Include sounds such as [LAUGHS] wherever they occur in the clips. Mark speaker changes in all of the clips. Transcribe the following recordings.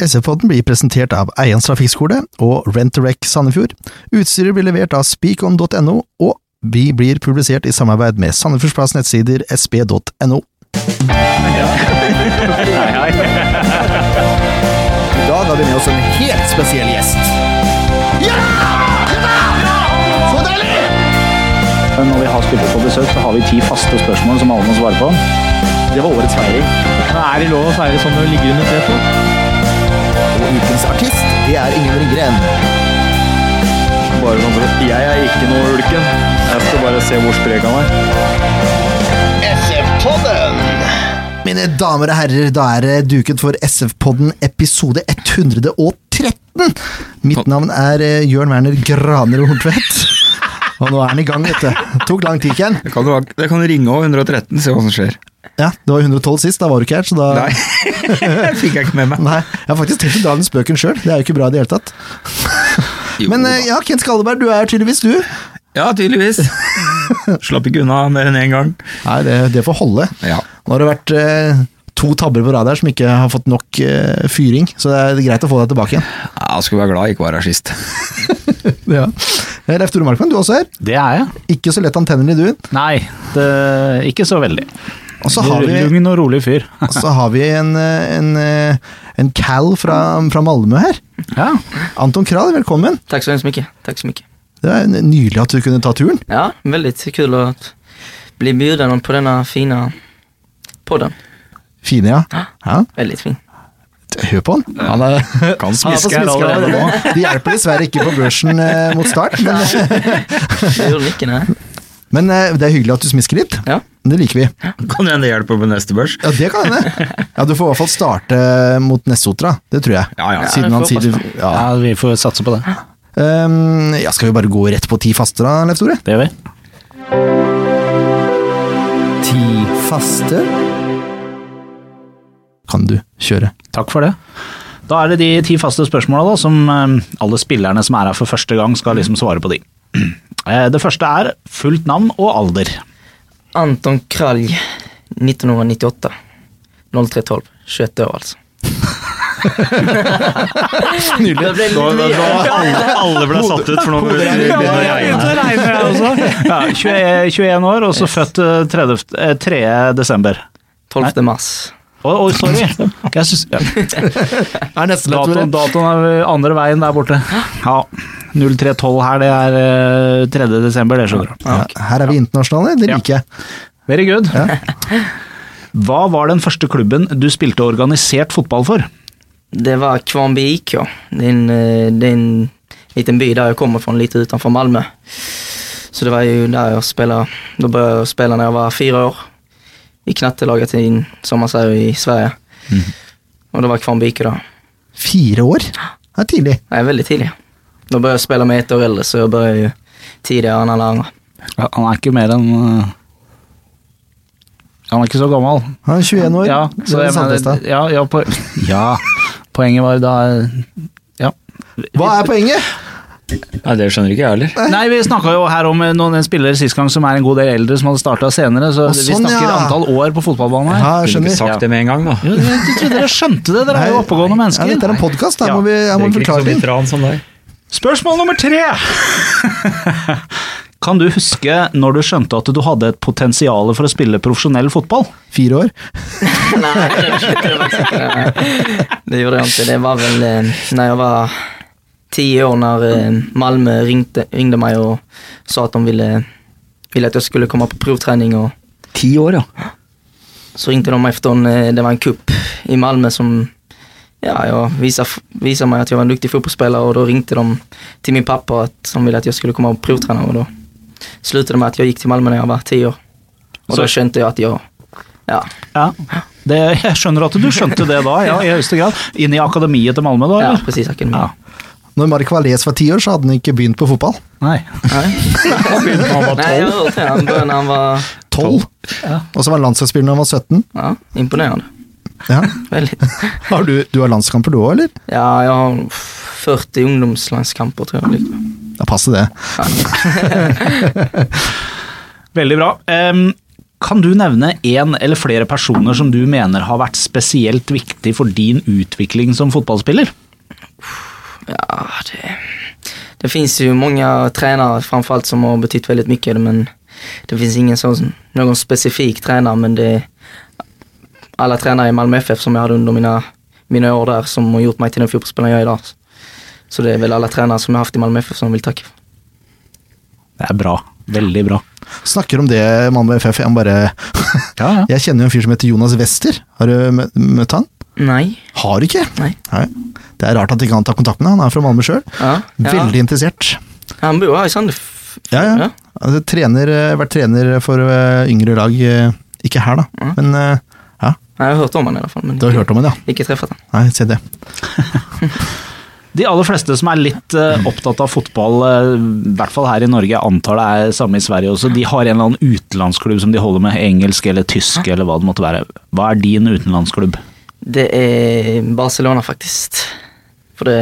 Speaker 1: SV-podden blir presentert av Eians trafikkskole og Rent-A-Wreck Sandefjord. Utstyret blir levert av speakon.no, og vi blir publisert i samarbeid med Sandefjordsplass nettsider sp.no.
Speaker 2: I dag har vi med oss en helt spesiell gjest.
Speaker 3: Men Eh, når vi har spillere på besøk, så har vi ti faste spørsmål som alle må svare på.
Speaker 2: Det var årets feiring.
Speaker 4: Er det lov å feire sånn når du ligger under tre for?
Speaker 2: Og ukens artist, det er Ingen Ringgren.
Speaker 3: Bare sånn for at Jeg er ikke noe ulken. Jeg skal bare se hvor sprek han er.
Speaker 1: Mine damer og herrer, da er det duket for SF-podden episode 113. Mitt navn er eh, Jørn Werner Graner Horntvedt. Og nå er den i gang, vet du. Tok lang tid, Ken.
Speaker 5: Det kan, du ha- det kan ringe òg, 113, se hva som skjer.
Speaker 1: Ja, det var 112 sist, da var du ikke her, så da
Speaker 5: Nei, [LAUGHS] det fikk jeg ikke med meg.
Speaker 1: Nei, jeg har faktisk tenkt å dra den spøken sjøl. Det er jo ikke bra i det hele tatt.
Speaker 5: Jo
Speaker 1: Men
Speaker 5: da.
Speaker 1: eh, ja, Kent Skalleberg, du er tydeligvis du.
Speaker 5: Ja, tydeligvis. Slapp ikke unna mer enn én gang.
Speaker 1: Nei, det, det får holde.
Speaker 5: Ja.
Speaker 1: Nå har det vært eh, to tabber på rad her som ikke har fått nok eh, fyring, så det er greit å få deg tilbake igjen.
Speaker 5: Jeg skulle være glad jeg ikke var her sist.
Speaker 1: Ja. Eh, Leif Tore Markmann, du er også her.
Speaker 4: Det er jeg.
Speaker 1: Ikke så lett antenner i du.
Speaker 4: Nei, det, ikke så veldig.
Speaker 1: Og så har vi,
Speaker 4: Lugn og rolig fyr.
Speaker 1: så har vi en, eh, en, eh, en Cal fra, fra Malmö her.
Speaker 4: Ja.
Speaker 1: Anton Kral, velkommen.
Speaker 6: Tack så hemskt mycket. Tack så mycket.
Speaker 1: Det er nydelig at du kunne ta turen.
Speaker 6: Ja, väldigt kul att bli bjuden på denna fina podden.
Speaker 1: Fine, ja. ja.
Speaker 6: Väldigt fin.
Speaker 1: Hør på han. Han er, Han er
Speaker 5: Kan
Speaker 1: på
Speaker 5: smiske her
Speaker 1: smiske
Speaker 5: allerede nå.
Speaker 1: allerede. De hjelper dessverre ikke på børsen eh, mot start, men,
Speaker 6: Det gjorde mycket, nej.
Speaker 1: men eh, det er hyggelig at du smisker litt.
Speaker 6: Ja.
Speaker 1: Det liker vi.
Speaker 5: Kan hende det hjelper på neste børs.
Speaker 1: Ja, det kan hende. Ja, du får i hvert fall starte mot Nessotra, det tror jeg.
Speaker 5: Ja, ja.
Speaker 1: Siden han sier ja.
Speaker 4: ja, vi får satse på det.
Speaker 1: Um, ja, skal vi bare gå rett på ti faste da, Leif Tore?
Speaker 4: Det gjør vi.
Speaker 2: Ti faste.
Speaker 1: Kan du kjøre?
Speaker 4: Takk for det. Da er det de ti faste spørsmåla da, som eh, alle spillerne som er her for første gang, skal liksom svare på de. [CLEARS THROAT] Eh, Det første er fullt navn og alder.
Speaker 6: Anton Kralj, 1998. 0312. 21 år alltså.
Speaker 1: Nydelig.
Speaker 5: Da, da, da alle, alle ble satt ut for noe.
Speaker 4: [LAUGHS] Ja, 21, 21 år, og så født eh, 30, eh, 3. desember.
Speaker 6: 12 mars.
Speaker 4: Å, å, sorry. Jeg synes, ja.
Speaker 1: Er neste, Leif Tore.
Speaker 4: Datoen, datoen er andre veien der borte. Ja. 0312 her, det er eh, 3. desember, det skjønner du.
Speaker 1: Ja, her er vi internasjonale, det
Speaker 4: Ja.
Speaker 1: liker jeg.
Speaker 4: Very good. Hva var den første klubben du spilte organisert fotball for?
Speaker 6: Det var Kvarnby IK. Det är en, eh, det är en liten by där jag kommer från, lite utanför Malmö. Så det var ju där jag spelade. Då började jag spela när jag var fyra år. I knattelaget, i, som man säger i Sverige. Och det var Kvarnby IK då.
Speaker 1: Fire år? Det er tidlig.
Speaker 6: Jag är väldigt tidig. Då började jag spela med ett år äldre, så jag började ju tidigare än alla andra.
Speaker 4: Han er ikke mer enn eh, Han er ikke så gammel.
Speaker 1: Han er 21 år.
Speaker 4: Ja,
Speaker 1: Det
Speaker 4: så
Speaker 1: er
Speaker 4: jeg mener,
Speaker 1: Sandnes, da.
Speaker 4: ja, ja, po
Speaker 5: [LAUGHS]
Speaker 4: ja, poenget var da Ja.
Speaker 1: Hva er poenget?
Speaker 5: Nei, det skjønner ikke jeg heller.
Speaker 4: Nei, vi snakka jo her om eh, noen en spiller sist gang som er en god del eldre, som hadde starta senere, så
Speaker 1: Å,
Speaker 4: vi
Speaker 1: sånn,
Speaker 4: snakker
Speaker 1: ja.
Speaker 4: antall år på fotballbanen
Speaker 1: Ja,
Speaker 4: her.
Speaker 1: jeg
Speaker 5: Kunne
Speaker 1: skjønner.
Speaker 5: ikke sagt det med en gang, da.
Speaker 4: Jo, jeg jeg trodde dere skjønte det, dere er jo
Speaker 1: Nei,
Speaker 4: oppegående
Speaker 1: Ja,
Speaker 4: mennesker.
Speaker 1: dette er en podkast, her må vi her må
Speaker 5: Trenger
Speaker 1: vi
Speaker 5: ikke så
Speaker 1: forklare
Speaker 5: mye
Speaker 1: ting.
Speaker 5: tran som deg.
Speaker 4: Spørsmål nummer tre! [LAUGHS] kan du huske når du skjønte at du hadde et potensial for å spille profesjonell fotball?
Speaker 1: Fire år.
Speaker 6: Det gjorde jag inte. Det var väl eh, när jag var tio år när eh, Malmö ringde, ringde mig och sa att de ville, ville att jag skulle komma på provträning. Och
Speaker 5: Ti år, ja.
Speaker 6: så ringde de mig efter en, eh, det var en kupp i Malmö som ja, jag visade, visade mig att jag var en duktig fotbollsspelare och då ringde de till min pappa att de ville att jag skulle komma och provträna och då slutade det med att jag gick till Malmö när jeg var tio år. Och
Speaker 4: Så-
Speaker 6: då kände jag att jag, ja,
Speaker 4: Ja, det, jeg skjønner at du skjønte det da, ja, i høyeste grad. Inn i akademiet til Malmö da,
Speaker 6: ja
Speaker 4: eller?
Speaker 6: precis, akademi.
Speaker 4: Ja.
Speaker 1: Når Mark Valais var ti år, så hadde han ikke begynt på fotball.
Speaker 4: [LAUGHS] Nei.
Speaker 5: Han var
Speaker 6: Nej, jag har hört det. Han började når han var,
Speaker 1: Tolv. Og så var han landslagsspiller når han var 17.
Speaker 6: ja, imponerande.
Speaker 1: Ja.
Speaker 6: Väldigt.
Speaker 1: Har du, du har landskamper du òg, eller?
Speaker 6: Ja, jeg har 40 ungdomslandskamper, tror jeg. liksom.
Speaker 1: Ja, passe det.
Speaker 4: Veldig bra. Em, Kan du nevne én eller flere personer som du mener har vært spesielt viktig for din utvikling som fotballspiller?
Speaker 6: Ja, det, det finns ju många tränare framförallt som har betytt väldigt mycket, men det finns ingen sånn- sån, någon specifik tränare, men det alla tränare i Malmö FF som jag hade under mina, mina år där som har gjort mig till den fotbollsspelaren jag är idag. Så det är väl alla tränare som jag har haft i Malmö FF som jag vill tacka för.
Speaker 4: Det er bra. Veldig bra.
Speaker 1: Snakker om det, mann med FF. Jeg, må bare [LAUGHS]
Speaker 4: Ja, ja.
Speaker 1: jeg kjenner jo en fyr som heter Jonas Wester. Har du mø- møtt han?
Speaker 6: Nej.
Speaker 1: Har ikke?
Speaker 6: Nei.
Speaker 1: Det er rart at ikke han tar kontakt med han. Han er fra Malmö sjøl.
Speaker 6: Ja, ja.
Speaker 1: Veldig interessert.
Speaker 6: Han bor här i Sandef.
Speaker 1: Ja, ja.
Speaker 6: Ja.
Speaker 1: Altså, trener, eh, vært trener for eh, yngre lag. eh, Ikke her, da, men eh, ja,
Speaker 6: Ja, Jeg har hørt om han i hvert fall, men
Speaker 1: du har hørt om han, ja.
Speaker 6: ikke treffet han.
Speaker 1: Nei, se det.
Speaker 4: De aller fleste som er litt [CLEARS THROAT] eh, opptatt av fotball, eh, i hvert fall her i Norge, jeg antar det er samme i Sverige også, de har en eller annen utenlandsklubb som de holder med, engelsk eller tysk eller hva det måtte være. Hva er din utenlandsklubb?
Speaker 6: Det er Barcelona, faktisk. For det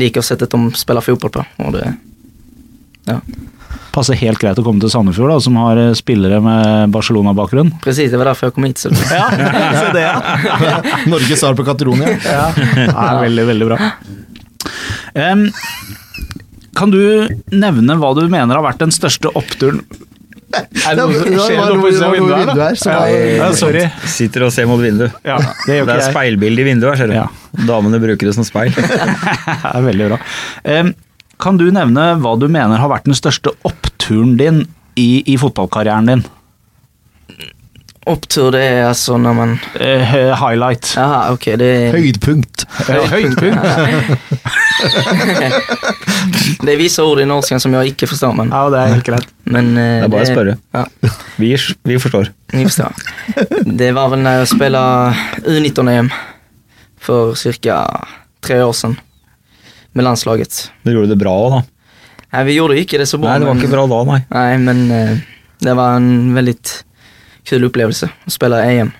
Speaker 6: liker settet de spiller fotball på. Og det, ja.
Speaker 4: Passer helt greit å komme til Sandefjord, da, som har eh, spillere med Barcelona-bakgrunn.
Speaker 6: Precis, det var derfor jeg kom hit. Så det.
Speaker 4: [LAUGHS] Ja, se det, ja.
Speaker 1: Norges svar på Katronia.
Speaker 4: [LAUGHS] Det er veldig, veldig bra. Em, kan du nevne hva du mener har vært den største oppturen Er
Speaker 1: det var- det var- det var-
Speaker 4: oppe i
Speaker 1: det var noe
Speaker 4: vinduet
Speaker 1: vinduet
Speaker 4: her, da?
Speaker 1: her som var-
Speaker 4: Ja, ja, sorry.
Speaker 5: sånn, Sitter og ser mot vinduet.
Speaker 4: Ja, det gjør
Speaker 5: Det
Speaker 4: ikke
Speaker 5: er
Speaker 4: jeg. [LAUGHS]
Speaker 5: speilbilde i vinduet her, ser du.
Speaker 4: Ja.
Speaker 5: Damene bruker det som speil.
Speaker 4: Det er veldig bra. Em, Kan du nevne hva du mener har vært den største oppturen din i, i fotballkarrieren din?
Speaker 6: Opptur, det er altså når man
Speaker 4: Eh, highlight. [LAUGHS]
Speaker 6: Jaha, ok, det er
Speaker 1: Høydepunkt.
Speaker 4: Eh, høydepunkt.
Speaker 6: Det er visse ord i norsken som jeg ikke forstår, men,
Speaker 4: Ja, det er helt greit.
Speaker 6: men eh,
Speaker 5: Det er bare å spørre.
Speaker 6: Ja,
Speaker 5: Vi, vi forstår.
Speaker 6: jeg forstår. Det var vel når jeg spilte U19-EM for ca. tre år siden med landslaget.
Speaker 5: Du gjorde det bra òg, da.
Speaker 6: Nei, vi gjorde ikke det så bra.
Speaker 5: Nei, det var
Speaker 6: men-
Speaker 5: ikke bra da, nei.
Speaker 6: Nei, men eh, det var en veldig kul opplevelse å spille EM.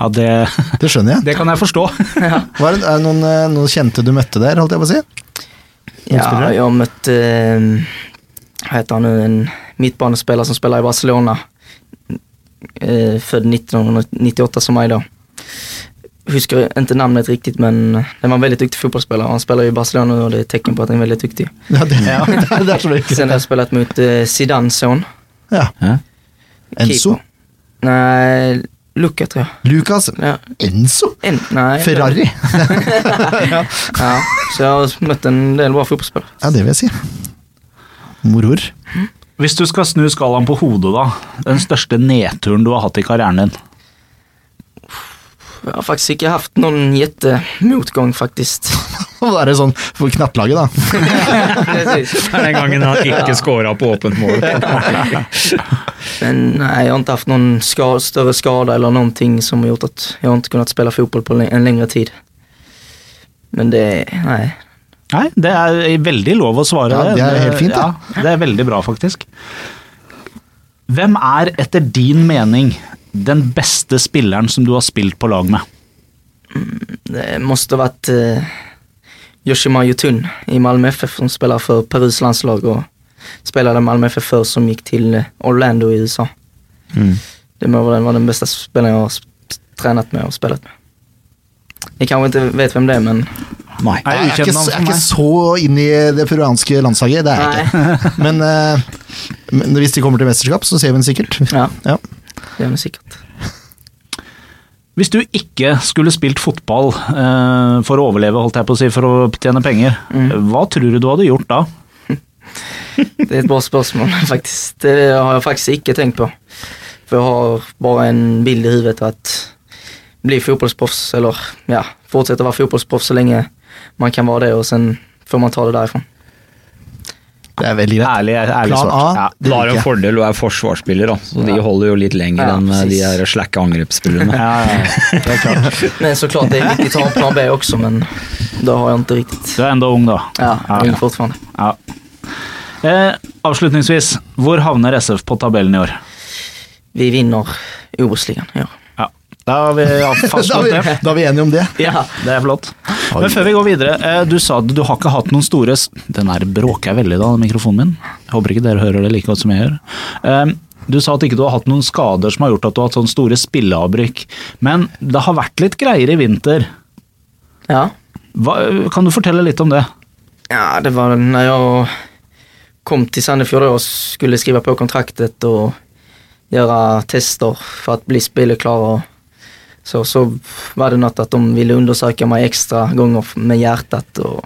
Speaker 4: Ja, det,
Speaker 1: Det skjønner jeg.
Speaker 4: det kan jeg forstå. [LAUGHS]
Speaker 1: Var det, er det noen, eh, noen kjente du møtte der, holdt jeg på å si?
Speaker 6: Ja, jeg har møtt eh, Hva heter han nå? En midtbanespiller som spiller i Barcelona. Eh, Fødd 1998 som meg, da. Husker ikke navnet riktig, men eh, han var en veldig dyktig fotballspiller. Han spiller i Barcelona, nå, og det er et tegn på at han er veldig dyktig.
Speaker 1: Ja, det, [LAUGHS] det er- det er så mye.
Speaker 6: Sen har jeg spilt mot eh, Zidane son.
Speaker 1: Ja. Enzo.
Speaker 6: keeper. Nei, Luca, tror jeg.
Speaker 1: Lucas
Speaker 6: Ja.
Speaker 1: Enzo?
Speaker 6: En, nei,
Speaker 1: Ferrari?
Speaker 6: Ja, så jeg har møtt en del bra fotballspillere.
Speaker 1: Ja, det vil jeg si. Moror. [LAUGHS]
Speaker 4: Hvis du skal snu skalaen på hodet, da. Den største nedturen du har hatt i karrieren din.
Speaker 6: Jeg har faktisk ikke hatt noen jättemotgång, [LAUGHS] faktisk.
Speaker 1: Og da er det sånn for knattlaget, da.
Speaker 6: Precis.
Speaker 5: Det er den gangen han ikke scora på åpent mål.
Speaker 6: Men nej, jag har inte haft någon ska större skada eller någonting som har gjort att jag inte kunnat spela fotboll på en längre tid. Men det, nej.
Speaker 4: Nei, det er veldig lov å svare
Speaker 1: Ja, det er helt fint, det.
Speaker 4: ja, det er veldig bra, faktisk. Hvem er etter din mening den beste spilleren som du har spilt på lag med?
Speaker 6: Det måste ha varit eh, Yoshima Yotun i Malmö FF som spelar för Perus landslag och spelade i Malmö FF förr som gick till eh, Orlando i USA. Det må vara den, var den bästa spelaren jag har sp- tränat med och spelat med. Ni kanske inte vet vem det er, men
Speaker 5: Nei.
Speaker 4: Nei,
Speaker 1: Jeg er ikke,
Speaker 4: ukjent navn
Speaker 1: jeg
Speaker 4: for
Speaker 1: er ikke
Speaker 4: meg.
Speaker 1: så inn i det peruanske landslaget, det er jeg ikke. [LAUGHS] Men, eh, men hvis de kommer til mesterskap, så ser vi den sikkert.
Speaker 6: Ja.
Speaker 1: Ja.
Speaker 6: det är han sikkert.
Speaker 4: Hvis du ikke skulle spilt fotball eh, for å overleve, holdt jeg på å si, for å tjene penger,
Speaker 1: Mm.
Speaker 4: hva tror du du hadde gjort da?
Speaker 6: Det er et bra spørsmål, faktisk. Det har jeg faktisk ikke tenkt på. For jeg har bare en bilde i hodet av å bli fotballproff, eller ja, fortsette å være fotballproff så lenge man kan være det, og sen får man ta det derifra.
Speaker 1: Det er veldig greit.
Speaker 4: Ærlig, ærlig
Speaker 1: Plan
Speaker 4: svart.
Speaker 1: A.
Speaker 4: Ja.
Speaker 5: Da er det en fordel å være forsvarsspiller, da. så de holder jo litt lenger
Speaker 6: Ja,
Speaker 5: enn eh, de
Speaker 6: precis.
Speaker 5: der slakke
Speaker 4: [LAUGHS]
Speaker 5: angrepsspillerne.
Speaker 4: Ja, ja, ja. Det er klart.
Speaker 6: Men så klart det er viktig å ha en plan B også, men da har jeg ikke riktig
Speaker 4: Du er enda ung, da.
Speaker 6: Ja, jeg er fortfarande.
Speaker 4: Ja. Eh, avslutningsvis, hvor havner SF på tabellen i år?
Speaker 6: Vi vinner Obos-ligaen i år.
Speaker 4: Ja, da har vi
Speaker 1: [LAUGHS] Da er,
Speaker 4: fastslått
Speaker 1: vi,
Speaker 4: det.
Speaker 1: da er vi enige om det.
Speaker 4: Ja, det er flott. Men før vi går videre, eh, du sa at du har ikke hatt noen store s- Den her bråker jeg veldig da, den mikrofonen min. Jeg håper ikke dere hører det like godt som jeg gjør. Eh, Du sa at ikke du har hatt noen skader som har gjort at du har hatt sånne store spilleavbrykk. Men det har vært litt greier i vinter.
Speaker 6: Ja.
Speaker 4: Hva, kan du fortelle litt om det?
Speaker 6: Ja, det var när jag kom till Sandefjord och skulle skriva på kontraktet och göra tester för att bli spelklar och så, så var det något att de ville undersöka mig extra gånger med hjärtat. Och,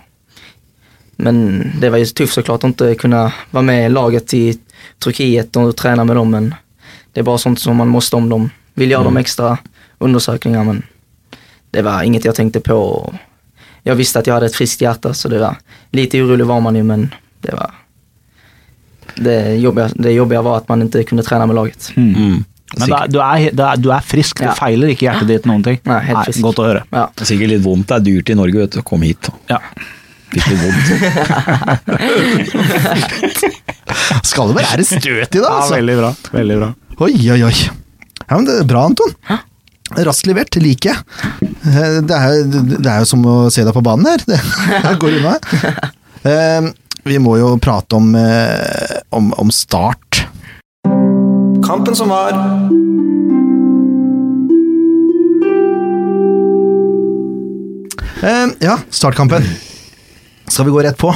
Speaker 6: men det var ju tufft såklart att inte kunna vara med i laget i Turkiet och träna med dem. Men det är bara sånt som man måste om de vill göra
Speaker 4: Mm.
Speaker 6: de extra undersökningarna. Men det var inget jag tänkte på. Och jag visste att jag hade ett friskt hjärta så det var lite orolig var man ju men det var det jobbiga, det jobbiga var att man inte kunde träna med laget.
Speaker 4: Mm.
Speaker 5: Mm.
Speaker 4: Men det er, du, er, det er, du er frisk,
Speaker 6: Ja.
Speaker 4: det feiler ikke hjertet ditt noen ting.
Speaker 6: Nei, helt frisk.
Speaker 4: godt å høre.
Speaker 6: Ja.
Speaker 5: Det er sikkert litt vondt. Det er dyrt i Norge, vet du. Kom hit. da.
Speaker 4: Ja.
Speaker 5: Fikk litt vondt.
Speaker 1: Skal det være støt i det, altså?
Speaker 4: veldig bra. Veldig bra.
Speaker 1: Oi, oi, oi. Ja, men det er bra, Anton. Raskt levert, liker jeg. Eh, Det er, jo- det er jo som å se deg på banen her. [LAUGHS] Det det går unna. Eh, Vi må jo prate om, eh, om, om start. Kampen som var. Eh, Ja, startkampen. Skal vi gå rett på?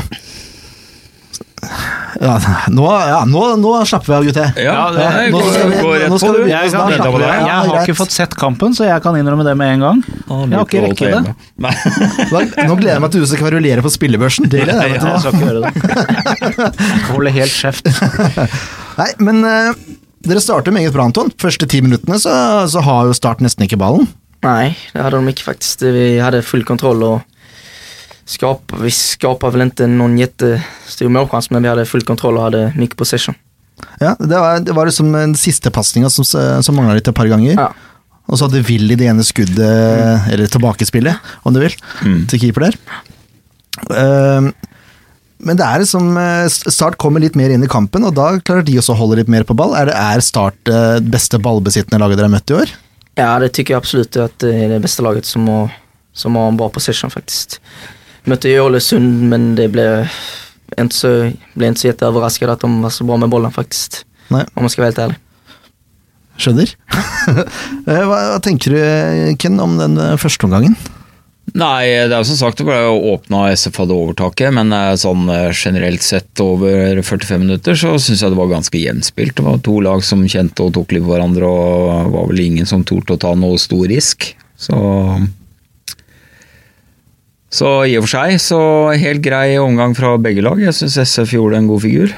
Speaker 1: Ja, nå, ja, nå, nå slapper vi av, gutter.
Speaker 5: Ja,
Speaker 4: det er-
Speaker 1: Nå skal vi-
Speaker 5: går rett
Speaker 1: nå skal
Speaker 5: på,
Speaker 1: vi-
Speaker 5: du.
Speaker 1: nå
Speaker 4: Jeg,
Speaker 1: skal
Speaker 4: kan,
Speaker 1: vi
Speaker 5: Venta på
Speaker 1: slappe av.
Speaker 5: deg.
Speaker 4: jeg
Speaker 1: Ja,
Speaker 4: har
Speaker 1: greit.
Speaker 4: ikke fått sett kampen, så jeg kan innrømme det med en gang.
Speaker 5: Han
Speaker 4: Jeg har
Speaker 5: lurte
Speaker 4: ikke
Speaker 5: på å
Speaker 4: rekke
Speaker 5: ta
Speaker 4: det.
Speaker 5: hjemme. Nei.
Speaker 1: Hva- Nå gleder jeg meg til du skal kverulere på spillebørsen. Det gleder jeg meg til.
Speaker 4: Jeg skal ikke gjøre det. Holde helt kjeft.
Speaker 1: Nei, men eh, dere starter meget bra, Anton. Første ti minuttene så, så har jo Start nesten ikke ballen.
Speaker 6: Nej, det hade de inte faktiskt. Vi hade full kontroll och skap, vi skapade väl inte någon jättestor målchans men vi hade full kontroll och hade mycket possession.
Speaker 1: Ja, det var, det var liksom den siste pasninga som, som mangla litt et par ganger.
Speaker 6: Ja.
Speaker 1: Og så hadde Willy det ene skuddet, eller tilbakespillet, om du vil, til keeper der. Ehm, men det er liksom eh, Start kommer litt mer inn i kampen, og da klarer de også å holde litt mer på ball. Er, det, er Start det beste ballbesittende laget dere har møtt i år?
Speaker 6: Ja, det tycker jag absolut att det är eh, det bästa laget som har, som har en bra possession faktiskt. Mötte ju Ålesund men det blev inte så, blev inte så jätteöverraskad att de var så bra med bollen faktiskt.
Speaker 1: Nei,
Speaker 6: Om man ska vara helt ärlig.
Speaker 1: skjønner. [LAUGHS] Eh, hva, hva tenker du, Ken, om den eh, første omgangen?
Speaker 5: Nei, det er jo som sagt, det ble jo åpna SF hadde overtaket, men eh, sånn eh, generelt sett over 45 minutter så syns jeg det var ganske jevnspilt. Det var to lag som kjente og tok litt på hverandre, og var vel ingen som torde å ta noe stor risk. Så Så i og for seg, så helt grei omgang fra begge lag. Jeg syns SF gjorde en god figur.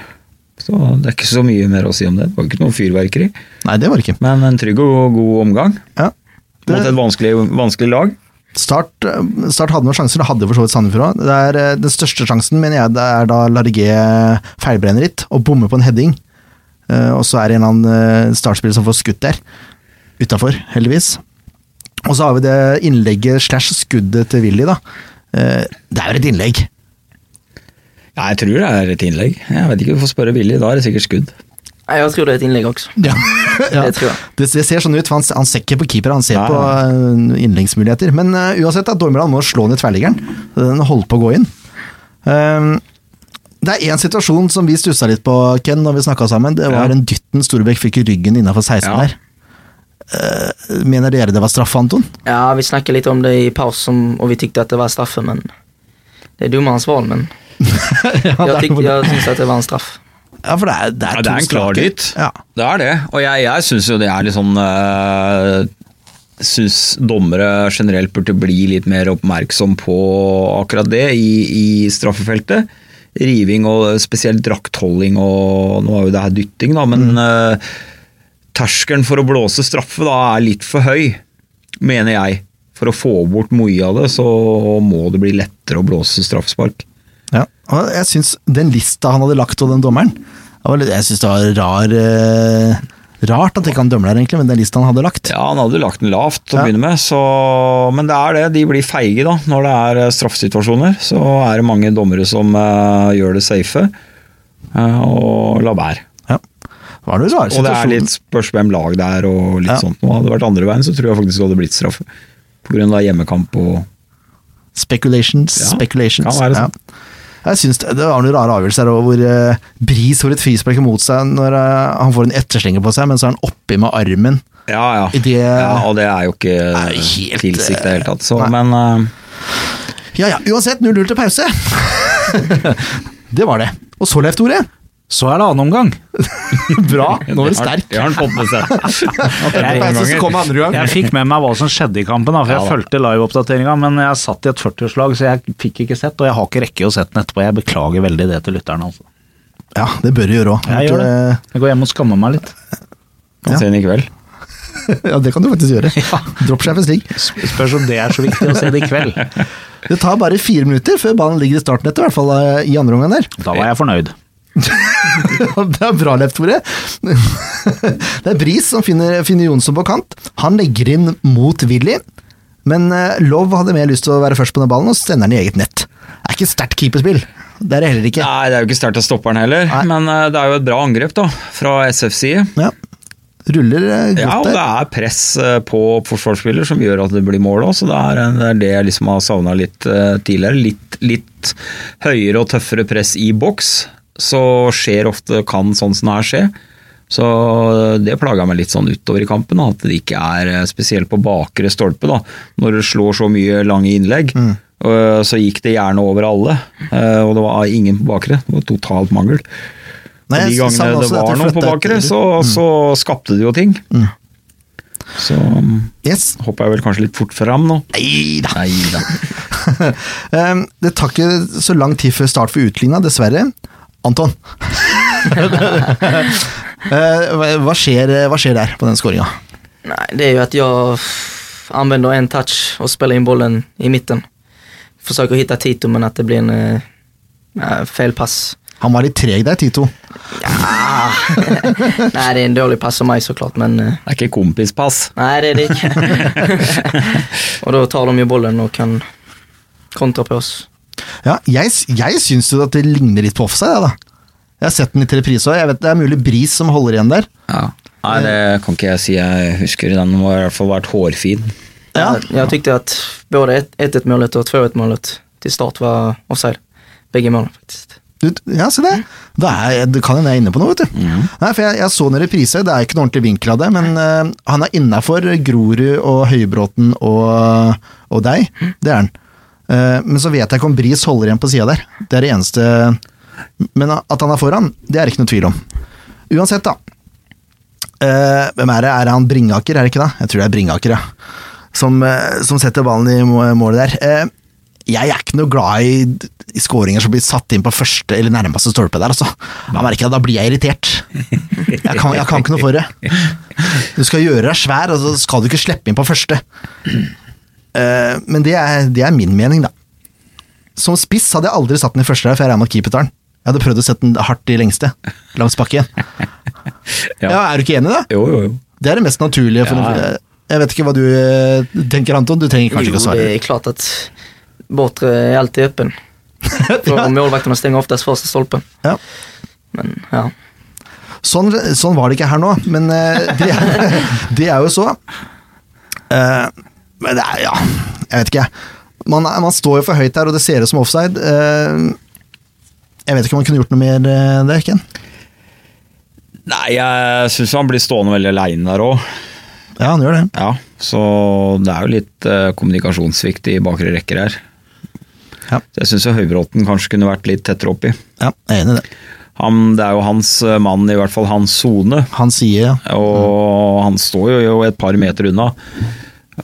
Speaker 5: Så det er ikke så mye mer å si om det. Det var ikke noe fyrverkeri,
Speaker 1: Nei, det var det ikke.
Speaker 5: men en trygg og god omgang.
Speaker 1: Ja. Det-
Speaker 5: Mot et vanskelig, vanskelig lag.
Speaker 1: Start, eh, start hadde noen sjanser, det hadde for så vidt Sandefjord òg. Det er, eh, Den største sjansen mener jeg det er da Large feilbrenner litt og bommer på en heading. Eh, og så er det en eller annen eh, startspiller som får skutt der. Utafor, heldigvis. Og så har vi det innlegget slash skuddet til Willy, da. Eh, det er jo et innlegg.
Speaker 5: Ja, jeg tror det er et innlegg. Jeg vet ikke, Du får spørre Billy, da er det sikkert skudd.
Speaker 6: Ja, jag tror det är ett inlägg också.
Speaker 5: [LAUGHS]
Speaker 1: Ja.
Speaker 6: Det tror jeg.
Speaker 1: Det, det ser sånn ut, for han, han ser ikke på keeper, han ser
Speaker 5: Nei.
Speaker 1: på eh, innleggsmuligheter. Men eh, uansett, da, Dormeland må slå ned tverrliggeren. Den holdt på å gå inn. Ehm, det er én situasjon som vi stussa litt på, Ken, når vi snakka sammen. Det var
Speaker 5: Ja.
Speaker 1: den dytten Storbekk fikk i ryggen innafor 16
Speaker 5: Ja.
Speaker 1: der. Eh, mener dere det var straffe,
Speaker 5: [LAUGHS]
Speaker 1: Anton?
Speaker 6: Ja, vi snackade lite om det i paus som, och vi tyckte att det var straffe men det är domarens val men jag, tyckte, jeg tyckte att det var en straff.
Speaker 1: ja, for det er, det er,
Speaker 5: Ja,
Speaker 1: to
Speaker 5: det er en klar
Speaker 1: strake.
Speaker 5: dytt.
Speaker 1: Ja.
Speaker 5: Det er det. Og jeg, jeg syns jo det er litt sånn øh, Syns dommere generelt burde bli litt mer oppmerksom på akkurat det i, i straffefeltet. Riving og spesielt draktholding og Nå er jo det her dytting, da,
Speaker 1: Mm.
Speaker 5: men øh, terskelen for å blåse straffe da er litt for høy, mener jeg. For å få bort mye av det, så må det bli lettere å blåse straffespark.
Speaker 1: Ja, og jeg synes den lista han hadde lagt og den dommeren, det var litt, jeg synes det var rar, eh, rart at ikke han dømmer der egentlig, men den lista han hadde lagt.
Speaker 5: Ja, han hadde lagt den lavt til å
Speaker 1: Ja.
Speaker 5: begynne med, så, men det er det. De blir feige da, når det er eh, straffesituasjoner. Så er det mange dommere som eh, gjør det safe eh, og lar være.
Speaker 1: Ja. Var det noe rare
Speaker 5: Og det er
Speaker 1: situasjoner?
Speaker 5: litt spørs hvem lag det er og litt
Speaker 1: Ja.
Speaker 5: sånt. Nå hadde det vært andre veien, så tror jeg faktisk det hadde blitt straffe. På grunn av hjemmekamp og
Speaker 1: Speculations,
Speaker 5: Ja,
Speaker 1: speculations.
Speaker 5: kan være sånn.
Speaker 1: Ja. Jeg synes det, det var noen rare avgjørelser her, og hvor eh, Bris får et frispark mot seg når eh, han får en etterslinger på seg, men så er han oppi med armen.
Speaker 5: Ja, ja.
Speaker 1: I det-
Speaker 5: ja og det er jo ikke
Speaker 1: er helt, eh,
Speaker 5: tilsiktet i det hele tatt. Så,
Speaker 1: nei.
Speaker 5: men eh,
Speaker 1: Ja ja, uansett, 0-0 til pause! [LAUGHS] det var det. Og så, Leif Tore,
Speaker 4: Så er det annen omgang. [LAUGHS]
Speaker 1: bra, nå var du
Speaker 5: det har-
Speaker 1: sterk.
Speaker 5: Det har han fått med seg.
Speaker 1: Etter pause så kom andre gang.
Speaker 4: Jeg fikk med meg hva som skjedde i kampen, da, for jeg fulgte liveoppdateringa, men jeg satt i et 40-årslag, så jeg fikk ikke sett, og jeg har ikke rekke å sett den etterpå. Jeg beklager veldig det til lytterne, altså.
Speaker 1: Ja, det bør du gjøre òg.
Speaker 4: Jeg gjør det. Jeg går hjem og skammer meg litt.
Speaker 5: Kan se den i kveld.
Speaker 1: [LAUGHS] Ja, det kan du faktisk
Speaker 5: [LAUGHS]
Speaker 1: gjøre. Dropp Champions League.
Speaker 4: Sp- Spørs om det er så viktig å se det i kveld.
Speaker 1: Det tar bare fire minutter før ballen ligger i startnettet, i hvert fall eh, i andre omgang der. [LAUGHS]
Speaker 4: Da var jeg fornøyd.
Speaker 1: det er bra, Leif Tore. [LAUGHS] det er Bris som finner, finner Jonsson på kant. Han legger inn mot Willy, men eh, Love hadde mer lyst til å være først på den ballen og sender den i eget nett. Det er ikke sterkt keeperspill. Det er det heller ikke.
Speaker 5: Nei, det er jo ikke sterkt av stopperen heller,
Speaker 1: Nei.
Speaker 5: men eh, det er jo et bra angrep da, fra SFs side.
Speaker 1: Ja. Ruller eh,
Speaker 5: Ja, og
Speaker 1: godt
Speaker 5: det
Speaker 1: der.
Speaker 5: er press eh, på forsvarsspiller som gjør at det blir mål òg, så det er, det er det jeg liksom har savna litt eh, tidligere. Litt, litt høyere og tøffere press i boks, så skjer ofte, kan sånn som det her skje. Så det plaga meg litt sånn utover i kampen, da, at det ikke er eh, spesielt på bakre stolpe, da, når du slår så mye lange innlegg. eh, Så gikk det gjerne over alle, eh, og det var ingen på bakre. Det var totalt mangel.
Speaker 1: Nei,
Speaker 5: Og de
Speaker 1: jeg savner
Speaker 5: gangene det
Speaker 1: også at de
Speaker 5: var noen på
Speaker 1: flyttet
Speaker 5: bakre,
Speaker 1: etter.
Speaker 5: så, så skapte det jo ting. Så um,
Speaker 1: Yes.
Speaker 5: hoppa jeg vel kanskje litt fort fram nå.
Speaker 1: Nei da.
Speaker 5: Nei da.
Speaker 1: [LAUGHS] Um, det tar ikke så lang tid før start for utligna, dessverre. Anton. Eh, hva- hva, skjer, hva skjer der på den skåringa?
Speaker 6: Nej, det är ju att jag f- använder en touch och spelar in bollen i mitten. Försöker hitta Tito men att det blir en eh, eh, [LAUGHS] felpass.
Speaker 1: Han var litt treg der, Tito.
Speaker 6: Nej, det är en dålig pass av mig såklart men eh,
Speaker 5: Det er ikke kompispass.
Speaker 6: nej det är det [LAUGHS] inte. Och då tar de ju bollen och kan kontra på oss.
Speaker 1: Ja, jeg, s- jeg syns jo at det ligner litt på offside, jeg, da. Jeg har sett den litt i reprise også, Jeg vet Det er mulig Bris som holder igjen der.
Speaker 5: Nei, det kan ikke jeg si jeg husker. Den må i hvert fall vært hårfin.
Speaker 1: Ja.
Speaker 6: Jag, jag tyckte att både ett- 1-1 målet och 2-1 målet till start var offside. Bägge målen faktiskt.
Speaker 1: Du, ja, se det. Da er, det kan hende jeg er inne på noe, vet du. Nei, for jeg, jeg så den i reprise, det er ikke noen ordentlig vinkel av det, men eh, han er innafor Grorud og Høybråten og, og deg. Det er han. Eh, men så vet jeg ikke om Bris holder igjen på sida der. Det er det eneste Men at han er foran, det er det ikke noe tvil om. Uansett, da. Eh, hvem er det? Er det han Bringaker, er det ikke det? Jeg tror det er Bringaker, ja. Som, eh, som setter ballen i må- målet der. Eh, jeg er ikke noe glad i, i skåringer som blir satt inn på første eller nærmeste stolpe der, altså. Jeg merker at da blir jeg irritert. Jeg kan, jeg kan ikke noe for det. Du skal gjøre deg svær, og så skal du ikke slippe inn på første. Eh, men det er, det er min mening, da. Som spiss hadde jeg aldri satt den i første der, for jeg regna med keepertaren. Jeg hadde prøvd å sette den hardt i lengste, langs bakken.
Speaker 5: Ja.
Speaker 1: Ja. er du ikke enig i det?
Speaker 5: Jo, jo, jo.
Speaker 1: Det er det mest naturlige. For
Speaker 5: Ja.
Speaker 1: Jeg vet ikke hva du eh, tenker, Anton. Du trenger kanskje ikke å
Speaker 6: jo, det
Speaker 1: svare.
Speaker 6: är klart att bortre är alltid öppen. För målvakterna stänger oftast första stolpen.
Speaker 1: [LAUGHS] Ja.
Speaker 6: Men ja,
Speaker 1: Sånn, sånn var det ikke her nå, men eh, det, er, [LAUGHS] det er jo så. Eh, men det er, ja, jeg vet ikke. Man, er- man står jo for høyt der, og det ser ut som offside. Eh, jeg vet ikke om man kunne gjort noe mer eh, der, Ken.
Speaker 5: Nei, jeg syns han blir stående veldig aleine der òg.
Speaker 1: Ja, han gjør det.
Speaker 5: Ja, så det er jo litt eh, kommunikasjonssvikt i bakre rekker her.
Speaker 1: Ja.
Speaker 5: Så Jeg syns Høybråten kanskje kunne vært litt tettere oppi.
Speaker 1: Ja, jeg er enig i det.
Speaker 5: Han, det er jo hans eh, mann, i hvert fall hans sone,
Speaker 1: Han sier ja.
Speaker 5: Og han står jo- jo et par meter unna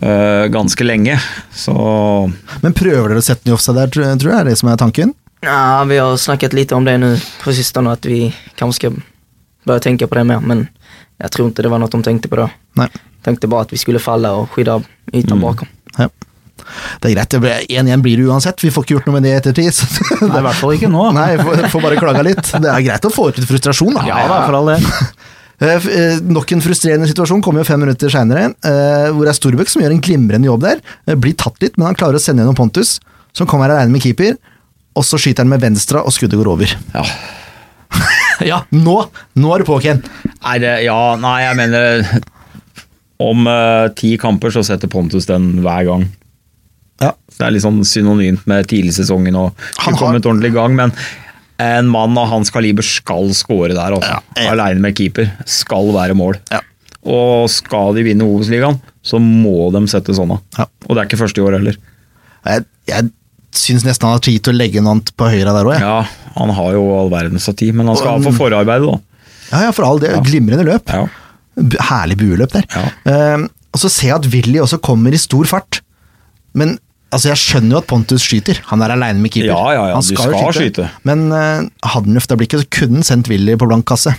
Speaker 5: eh, ganske lenge, så
Speaker 1: Men prøver dere å sette den i offside der, tror- tror jeg? Er det som er tanken?
Speaker 6: ja, vi har snackat lite om det nu på sistone att vi kanske ska börja tänka på det mer. Men jag tror inte det var något de tänkte på då.
Speaker 1: Nei.
Speaker 6: Tänkte bara att vi skulle falla och skydda ytan bakom.
Speaker 1: Ja. Det er greit. det blir- 1-1 blir det uansett. Vi får ikke gjort noe med det i ettertid. Så det
Speaker 4: Nei, i hvert fall ikke nå.
Speaker 1: Nei, får, får bare klaga litt. Det er greit å få ut litt frustrasjon, da.
Speaker 4: Ja da, for all del.
Speaker 1: Eh, f- eh, nok en frustrerende situasjon kommer jo fem minutter seinere, hvor det er Storbøk som gjør en glimrende jobb der. Eh, blir tatt litt, men han klarer å sende gjennom Pontus, som kommer aleine med keeper. Og så skyter han med venstre, og skuddet går
Speaker 4: [LAUGHS]
Speaker 1: over.
Speaker 5: ja.
Speaker 1: Ja, Nå nå er du på, Ken!
Speaker 5: Nei, det, ja, nei, jeg mener Om eh, ti kamper så setter Pontus den hver gang.
Speaker 1: Ja,
Speaker 5: Det er litt sånn synonymt med tidligsesongen og
Speaker 1: Han
Speaker 5: ikke
Speaker 1: har-
Speaker 5: kommet ordentlig i gang, men en mann av hans kaliber skal skåre der, altså.
Speaker 1: Ja, ja.
Speaker 5: Aleine med keeper. Skal være mål.
Speaker 1: Ja.
Speaker 5: Og skal de vinne Obos-ligaen, så må de sette sånne.
Speaker 1: Ja.
Speaker 5: Og det er ikke første i år heller.
Speaker 1: Jeg, jeg syns nesten han har tid til å legge noe annet på høyre der òg. Ja.
Speaker 5: Ja, han har jo all verdens av tid, men han skal ha for forarbeidet, da.
Speaker 1: Ja, ja, for all det. Glimrende løp.
Speaker 5: Ja.
Speaker 1: B- Herlig bueløp der.
Speaker 5: Ja.
Speaker 1: Eh, og så ser jeg at Willy også kommer i stor fart. Men altså, jeg skjønner jo at Pontus skyter. Han er aleine med keeper.
Speaker 5: Ja, ja, ja,
Speaker 1: Han
Speaker 5: du
Speaker 1: jo
Speaker 5: skal skyte.
Speaker 1: Men eh, hadde han løfta blikket, så kunne han sendt Willy på blank kasse.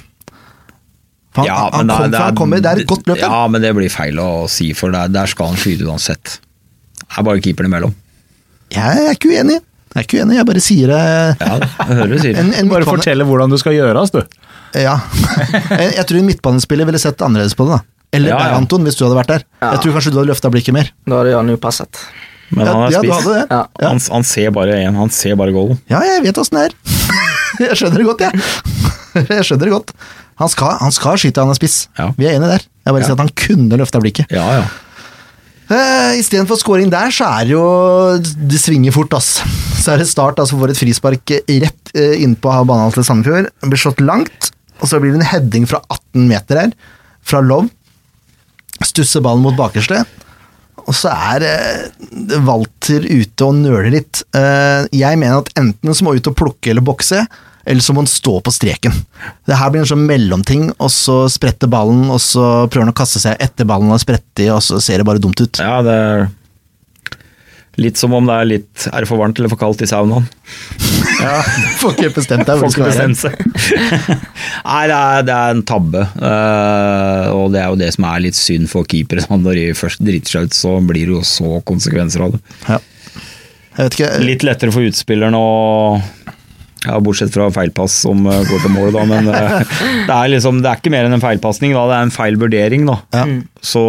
Speaker 1: For Han,
Speaker 5: Ja,
Speaker 1: han
Speaker 5: men
Speaker 1: kom fra, han kommer, det er et godt løp. der.
Speaker 5: Ja, men det blir feil å si, for der, der skal han skyte uansett. Det er bare keeperen imellom.
Speaker 1: Jeg er ikke uenig. Jeg er ikke uenig, jeg bare sier det.
Speaker 5: Ja, jeg hører du sier.
Speaker 1: En, en
Speaker 4: Bare
Speaker 1: midtbane-
Speaker 4: fortelle hvordan det skal gjøres, du.
Speaker 1: Ja. [LAUGHS] Jeg, jeg tror en midtbanespiller ville sett annerledes på det. da. Eller
Speaker 5: Ja, ja.
Speaker 1: deg, Anton, hvis du hadde vært der. Jeg tror kanskje du hadde løfta blikket mer.
Speaker 6: Da hadde jeg nå passet.
Speaker 5: Men han er
Speaker 1: ja, ja, du
Speaker 5: spiss.
Speaker 1: hadde det.
Speaker 6: Ja.
Speaker 1: Ja.
Speaker 5: Han, han ser bare én, han ser bare goalen.
Speaker 1: Ja, jeg vet åssen det er. [LAUGHS] Jeg skjønner det godt, jeg. [LAUGHS] Jeg skjønner det godt. Han skal, han skal skyte, han er spiss.
Speaker 5: Ja.
Speaker 1: Vi er enige der. Jeg bare sier at han kunne løfta blikket.
Speaker 5: Ja, ja.
Speaker 1: Eh, Istedenfor scoring der, så er det jo Det svinger fort, ass. Så er det start, altså får et frispark eh, rett eh, innpå banen til Sandefjord. Blir slått langt, og så blir det en heading fra 18 meter her, fra Lov. Stusser ballen mot bakerste. Og så er eh, Walter ute og nøler litt. Eh, jeg mener at enten så må han ut og plukke eller bokse, eller så må han stå på streken. Det her blir en sånn mellomting, og så spretter ballen, og så prøver han å kaste seg etter ballen og sprette i, og så ser det bare dumt ut.
Speaker 5: Ja, det er litt som om det er litt Er det for varmt eller for kaldt i saunaen?
Speaker 1: [LAUGHS] Får ikke bestemt deg hvor
Speaker 5: Folk
Speaker 1: det skal være.
Speaker 5: bestemmer seg. [LAUGHS] Nei, det er, det er en tabbe. eh, og det er jo det som er litt synd for keepere. sånn, Når de først driter seg ut, så blir det jo så konsekvenser av det.
Speaker 1: Ja. Jeg vet ikke,
Speaker 5: Litt lettere for utspilleren å ja, Bortsett fra feilpass som eh, går til mål, da. Men
Speaker 1: [LAUGHS]
Speaker 5: eh, det er, liksom, det er ikke mer enn en feilpasning. da, Det er en feil vurdering, da.
Speaker 1: Ja.
Speaker 5: Så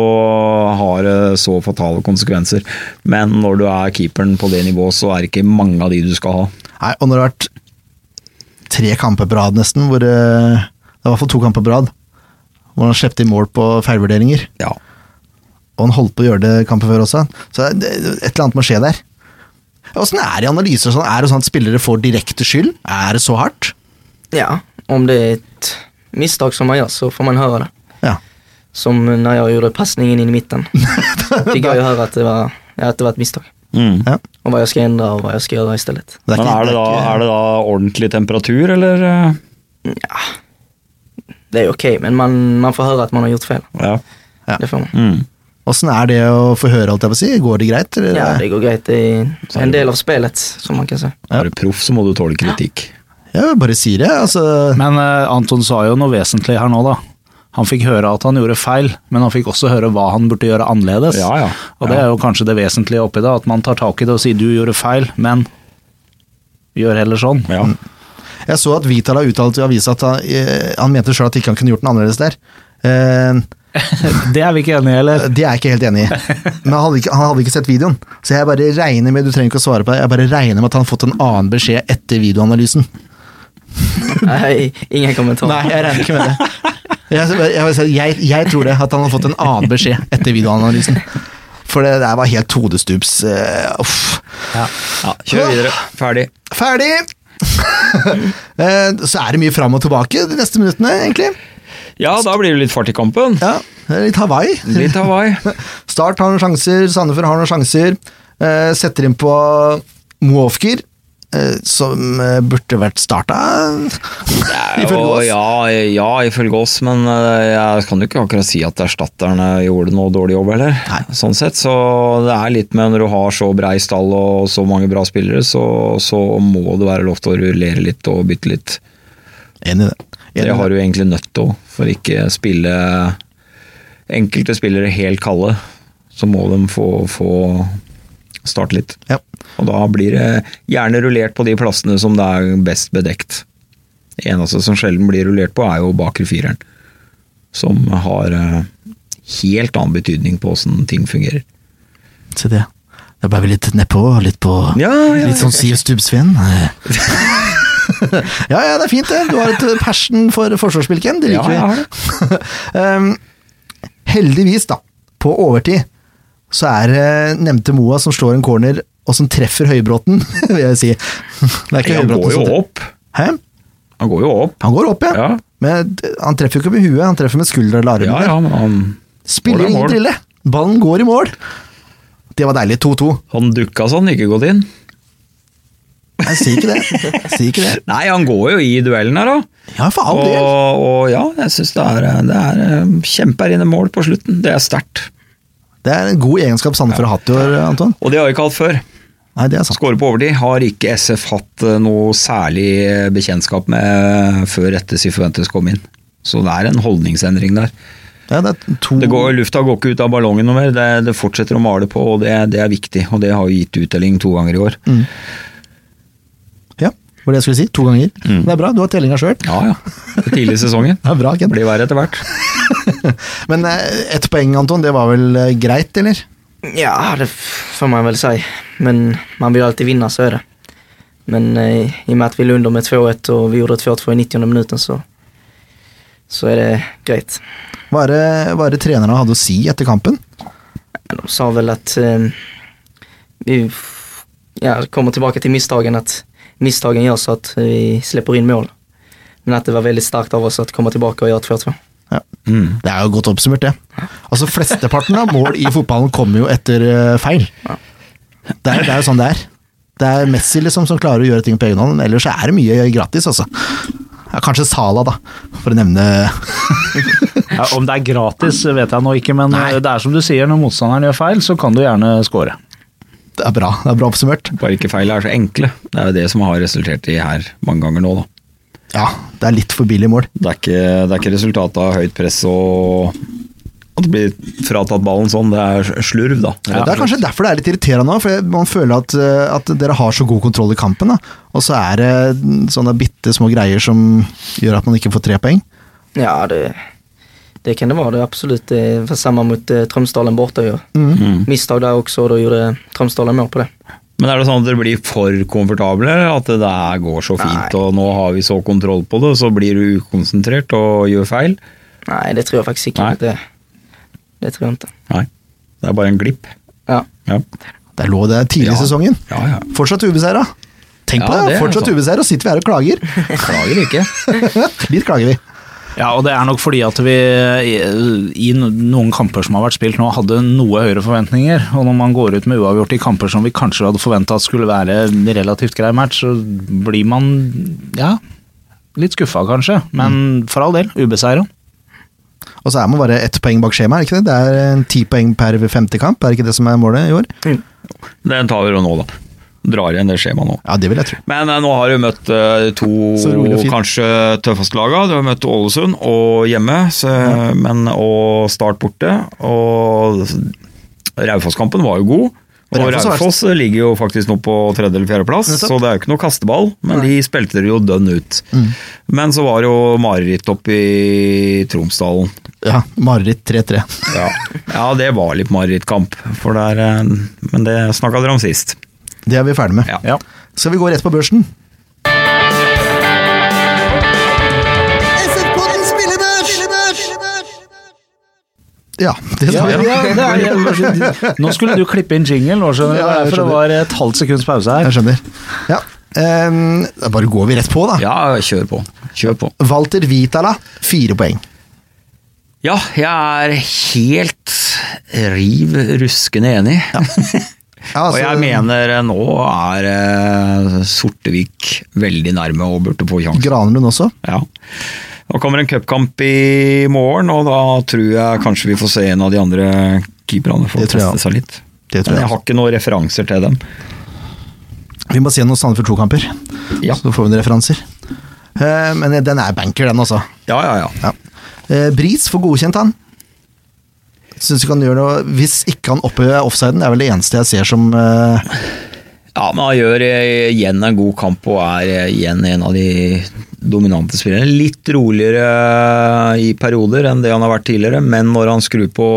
Speaker 5: har det så fatale konsekvenser. Men når du er keeperen på det nivået, så er det ikke mange av de du skal ha.
Speaker 1: Nei, og når det har vært tre kamper på rad nesten, hvor eh, det var i hvert fall to kamper på rad, hvor han slepte i mål på feilvurderinger.
Speaker 5: Ja.
Speaker 1: Og han holdt på å gjøre det kampen før også. Så det, et eller annet må skje der. Åssen er det i analyser? og Sånn? Er det sånn at spillere får direkte skyld? Er det så hardt?
Speaker 6: Ja, om det er et misstag som man gjør, så får man høre det.
Speaker 1: Ja.
Speaker 6: Som når jeg gjorde pasningen inn i midten. Fikk jeg jo høre at det var, ja, at det var et misstag.
Speaker 5: Mm.
Speaker 1: ja.
Speaker 6: Og hva jeg skal endre, og hva jeg skal gjøre i stedet.
Speaker 1: Det
Speaker 5: Men er det, da,
Speaker 1: ikke-
Speaker 5: er det da ordentlig temperatur, eller? eh?
Speaker 6: Det er jo ok, men man, man får høre at man har gjort feil.
Speaker 5: Ja.
Speaker 1: Ja.
Speaker 6: Det får man.
Speaker 5: Mm.
Speaker 1: Åssen er det å få høre, holdt jeg på å si? Går det greit? Eller?
Speaker 6: Ja, det Sånn. går greit. Det er en del av spillet, som man kan si.
Speaker 1: Ja.
Speaker 5: Er du proff, så må du tåle kritikk.
Speaker 1: Ja, bare sier det. Altså,
Speaker 4: Men eh, Anton sa jo noe vesentlig her nå, da. Han fikk høre at han gjorde feil, men han fikk også høre hva han burde gjøre annerledes.
Speaker 5: Ja, ja.
Speaker 4: Og det er jo kanskje det vesentlige oppi det, at man tar tak i det og sier 'du gjorde feil, men gjør heller sånn'.
Speaker 5: Ja.
Speaker 1: jeg så at Vital har uttalt i avisa at han, eh, han mente sjøl at ikke han kunne gjort den annerledes der. Eh,
Speaker 4: [LAUGHS] Det er vi ikke enige i, eller?
Speaker 1: det er jeg ikke helt enig i. Men han hadde ikke, han hadde ikke sett videoen. Så jeg bare regner med du trenger ikke å svare på det, jeg bare regner med at han har fått en annen beskjed etter videoanalysen.
Speaker 6: Nei, ingen kommentar.
Speaker 1: Nei, jeg regner ikke med det. [LAUGHS] Jeg, jeg, jeg, jeg tror det, at han har fått en annen beskjed etter videoanalysen. For det der var helt hodestups. eh, uff.
Speaker 5: ja. Kjør videre. Ferdig.
Speaker 1: Ferdig! [LAUGHS] Eh, Så er det mye fram og tilbake de neste minuttene, egentlig.
Speaker 5: Ja, da blir det litt fart i kampen.
Speaker 1: Ja, det er Litt Hawaii.
Speaker 5: Litt Hawaii. [LAUGHS]
Speaker 1: Start har noen sjanser, Sandefjord har noen sjanser. Eh, Setter inn på Moofker, som eh, burde vært starta. [LAUGHS] Ifølge
Speaker 5: Og
Speaker 1: oss.
Speaker 5: Ja, ja, ifølge oss, men eh, jeg kan jo ikke akkurat si at erstatterne gjorde noe dårlig jobb, heller. Sånn sett, så det er litt med når du har så brei stall og så mange bra spillere, så, så må det være lov til å rullere litt og bytte litt.
Speaker 1: Enig i det. Enig i
Speaker 5: Det har du egentlig nødt til òg, for ikke spille enkelte spillere helt kalde. Så må de få, få starte litt.
Speaker 1: Ja.
Speaker 5: Og da blir det gjerne rullert på de plassene som det er best bedekt. Det eneste som sjelden blir rullert på, er jo bakre fireren. Som har eh, helt annen betydning på åssen ting fungerer.
Speaker 1: Se det. Da ble vi litt nedpå, litt på
Speaker 5: Ja, ja,
Speaker 1: Litt sånn Siv
Speaker 5: [LAUGHS]
Speaker 1: Stubbsveen. ja, ja, det er fint det. Du har et eh, passion for forsvarsspilken. Det
Speaker 5: Ja,
Speaker 1: liker
Speaker 5: jeg har
Speaker 1: [LAUGHS] vi. um, heldigvis, da, på overtid, så er det nevnte Moa som slår en corner, og som treffer Høybråten, [LAUGHS] vil jeg si. Det er ikke
Speaker 5: Han
Speaker 1: Høybråten
Speaker 5: går
Speaker 1: som
Speaker 5: jo
Speaker 1: treffer.
Speaker 5: opp.
Speaker 1: Hæ?
Speaker 5: Han går jo opp.
Speaker 1: Han går opp, ja.
Speaker 5: Ja.
Speaker 1: Men d- han treffer jo ikke med huet, han treffer med skuldra eller
Speaker 5: Ja,
Speaker 1: armene.
Speaker 5: ja, men han,
Speaker 1: Spiller
Speaker 5: Mål er
Speaker 1: ingen
Speaker 5: mål.
Speaker 1: trille. Ballen går i mål. Det var deilig. 2-2.
Speaker 5: han dukka så han ikke gått inn.
Speaker 1: Nei, Jeg sier ikke det. Jeg sier ikke det.
Speaker 5: Nei, han går jo i duellen her, da.
Speaker 1: Ja, for all
Speaker 5: Og,
Speaker 1: del.
Speaker 5: og ja, jeg syns det er, det er eh, kjemperene mål på slutten. Det er sterkt.
Speaker 1: Det er en god egenskap Sandefjord har hatt i år, Anton.
Speaker 5: Og det har vi ikke hatt før.
Speaker 1: Nei, det er sant.
Speaker 5: Skåre på overtid har ikke SF hatt eh, noe særlig eh, bekjentskap med eh, før etter Sifuentes kom inn. Så det er en holdningsendring der.
Speaker 1: Ja, det er to
Speaker 5: Det går, lufta går ikke ut av ballongen noe mer, det, det fortsetter å male på, og det, det er viktig. Og det har jo gitt uttelling to ganger i år.
Speaker 1: Mm. Ja, var det jeg skulle si. To ganger.
Speaker 5: Mm.
Speaker 1: Det er bra, du har tellinga sjøl.
Speaker 5: Ja ja. Det er Tidlig i sesongen.
Speaker 1: Det er bra, Kent.
Speaker 5: Blir verre etter hvert.
Speaker 1: Men eh, ett poeng, Anton, det var vel eh, greit, eller?
Speaker 6: Ja, det f- får man väl säga. Men man vill alltid vinna, så är det. Men eh, i och med att vi låg under med 2-1 och vi gjorde 2-2 i 90 minuten så, så är det grejt.
Speaker 1: Hva er det, hva er det trenerne hadde å si etter kampen?
Speaker 6: Men De sa väl att eh, vi f- ja, kommer tillbaka till misstagen, att misstagen gör så att vi släpper in mål. Men att det var väldigt starkt av oss att komma tillbaka og göra 2-2.
Speaker 1: Ja.
Speaker 5: Mm.
Speaker 1: Det er jo godt oppsummert, det. Altså, Flesteparten av mål i fotballen kommer jo etter eh, feil. Det er, det er jo sånn det er. Det er Messi liksom som klarer å gjøre ting på egen hånd, men ellers så er det mye gratis, altså. Ja, kanskje Sala, da, for å nevne
Speaker 4: Ja, om det er gratis, vet jeg nå ikke, men eh,
Speaker 1: Nei.
Speaker 4: det er som du sier, når motstanderen gjør feil, så kan du gjerne score.
Speaker 1: Det er bra, det er bra oppsummert.
Speaker 5: Bare ikke feil er så enkle. Det er jo det som har resultert i her mange ganger nå, da.
Speaker 1: Ja, det er litt for billig mål.
Speaker 5: Det er ikke, det er ikke resultatet av høyt press og at det blir fratatt ballen sånn. Det er slurv, da.
Speaker 1: Ja, det er kanskje derfor det er litt irriterende òg, for jeg- man føler at, eh, at dere har så god kontroll i kampen, da. og så er det sånne bitte små greier som gjør at man ikke får tre poeng.
Speaker 6: Ja, det, det kan det vara. Det är absolut. Det var samma mot eh, Tromsdalen borta ju.
Speaker 5: Mm.
Speaker 6: Misstag där också och då gjorde Tromsdalen mål på det.
Speaker 5: Men er det sånn at dere blir for komfortable? eller At det der går så fint, og nå har vi så kontroll på det, og så blir du ukonsentrert og gjør feil?
Speaker 6: Nej, det tror jag faktiskt inte.
Speaker 5: Nej.
Speaker 6: Det, det tror jag inte.
Speaker 5: Nei. Det er bare en glipp.
Speaker 6: Ja.
Speaker 5: Ja.
Speaker 1: Det er lov, det er tidlig i
Speaker 5: Ja.
Speaker 1: sesongen.
Speaker 5: Ja, ja.
Speaker 1: Fortsatt ubeseira. Tenk
Speaker 5: Ja,
Speaker 1: på det,
Speaker 5: det er
Speaker 1: fortsatt
Speaker 5: sant.
Speaker 1: ubeseira, sitter vi her og klager.
Speaker 5: Klager ikke.
Speaker 1: [LAUGHS] Litt klager vi.
Speaker 4: Ja, og det er nok fordi at vi i i noen kamper som har vært spilt nå, hadde noe høyere forventninger. Og når man går ut med uavgjort i kamper som vi kanskje hadde forventa skulle være en relativt grei match, så blir man ja, litt skuffa kanskje. Men for all del, ubeseira.
Speaker 1: Og så er man bare ett poeng bak skjemaet, er det ikke det? Det er eh, ti poeng per femte kamp, er det ikke det som er målet i år?
Speaker 5: Den tar vi jo nå, da. Drar igjen det skjemaet nå.
Speaker 1: Ja, det vil jeg tro.
Speaker 5: Men eh, nå har du møtt eh,
Speaker 1: Så rolig og
Speaker 5: to
Speaker 1: fint.
Speaker 5: kanskje tøffeste laga. Du har møtt Ålesund og hjemme, så, men, og Start borte. Og Raufoss-kampen var jo god. Og
Speaker 1: Raufoss har vært-
Speaker 5: Raufoss ligger jo faktisk nå på tredje- eller fjerdeplass,
Speaker 1: Nettopp.
Speaker 5: så det er jo ikke noe kasteball. Men de spilte det jo dønn ut.
Speaker 1: Mm.
Speaker 5: Men så var det jo mareritt opp i Tromsdalen.
Speaker 1: Ja, mareritt 3-3.
Speaker 5: Ja. ja, det var litt marerittkamp, for der eh, Men det snakka dere om sist.
Speaker 1: Det er vi ferdig med.
Speaker 5: Ja.
Speaker 4: Ja.
Speaker 1: Skal vi gå rett på børsen? Ja, det skal
Speaker 4: Ja,
Speaker 1: vi.
Speaker 4: ja, det er, [LAUGHS] nå skulle du klippe inn jingle, nå skjønner du.
Speaker 1: Ja, jeg
Speaker 4: For det var et halvt sekunds pause
Speaker 1: Jeg
Speaker 4: her.
Speaker 1: skjønner. Ja. em, da bare går vi rett på, da.
Speaker 5: Ja, kjør på. Kjør på.
Speaker 1: Walter Vitala, fire poeng.
Speaker 5: Ja, jeg er helt riv ruskende enig. [LAUGHS]
Speaker 1: Ja,
Speaker 5: og
Speaker 1: altså-
Speaker 5: jeg mener eh, nå er eh, Sortevik veldig nærme og burde få sjansen.
Speaker 1: Granlund også.
Speaker 5: Ja. Nå kommer en cupkamp i morgen, og da tror jeg kanskje vi får se en av de andre keeperne få
Speaker 1: Det tror jeg
Speaker 5: teste seg litt.
Speaker 1: Det tror
Speaker 5: Men
Speaker 1: jeg
Speaker 5: jeg har ikke noen referanser til dem.
Speaker 1: Vi må se noen Sandefjord 2-kamper,
Speaker 5: Ja.
Speaker 1: så får vi noen referanser. Eh, men den er banker, den, altså.
Speaker 5: Ja, ja, ja.
Speaker 1: Ja. Eh, Bris får godkjent han. Syns ikke han gjør noe Hvis ikke han oppe offsiden, det er vel det eneste jeg ser som eh,
Speaker 5: Ja, men han gjør eh, igjen en god kamp og er eh, igjen en av de dominante spillerne. Litt roligere eh, i perioder enn det han har vært tidligere, men når han skrur på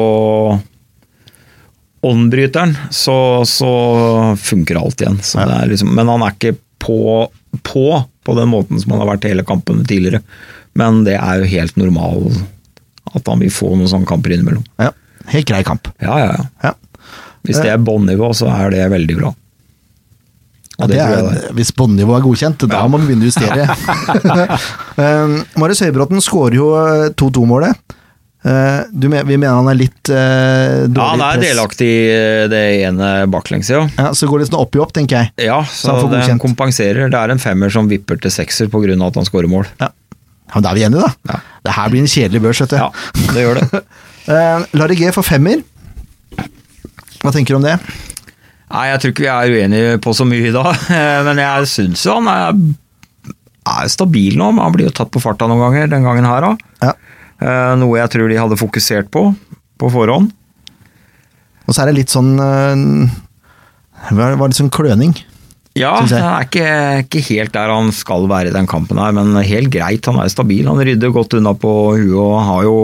Speaker 5: åndbryteren, så, så funker alt igjen. Så det er liksom, men han er ikke på, på på den måten som han har vært hele kampen tidligere. Men det er jo helt normal at han vil få noen sånne kamper innimellom.
Speaker 1: Ja, helt grei kamp.
Speaker 5: Ja, ja, ja.
Speaker 1: Ja.
Speaker 5: Hvis det er bånnivå, så er det veldig bra.
Speaker 1: Ja,
Speaker 5: det
Speaker 1: det
Speaker 5: tror jeg
Speaker 1: er, hvis båndnivået er godkjent, da må vi begynne å justere.
Speaker 5: [LAUGHS]
Speaker 1: [LAUGHS] um, Marius Høybråten skårer jo eh, 2-2-målet. Uh, du men- vi mener han er litt uh, dårlig
Speaker 5: Ja, han er
Speaker 1: press.
Speaker 5: delaktig i eh, det ene baklengs, ja.
Speaker 1: Ja, så går det litt sånn opp i opp, tenker jeg.
Speaker 5: Ja,
Speaker 1: Så
Speaker 5: så,
Speaker 1: han får
Speaker 5: det
Speaker 1: godkjent.
Speaker 5: kompenserer. Det er en femmer som vipper til sekser pga. at han skårer mål.
Speaker 1: Ja. ja, men Da er vi enige, da.
Speaker 5: Ja.
Speaker 1: Det her blir en kjedelig børs, vet du.
Speaker 5: Ja, det
Speaker 1: [LAUGHS]
Speaker 5: gjør det.
Speaker 1: Uh, Larry G får femmer. Hva tenker du om det?
Speaker 5: Nei, jeg tror ikke vi er uenige på så mye i dag, [LAUGHS] men jeg syns jo han er, er stabil nå. men Han blir jo tatt på farta noen ganger den gangen her, da.
Speaker 1: Ja.
Speaker 5: Eh, Noe jeg tror de hadde fokusert på på forhånd.
Speaker 1: Og så er det litt sånn uh, Det var litt sånn kløning.
Speaker 5: Ja,
Speaker 1: Synes
Speaker 5: han
Speaker 1: jeg.
Speaker 5: er ikke, ikke helt der han skal være i den kampen her, men helt greit. Han er stabil, han rydder godt unna på huet og har jo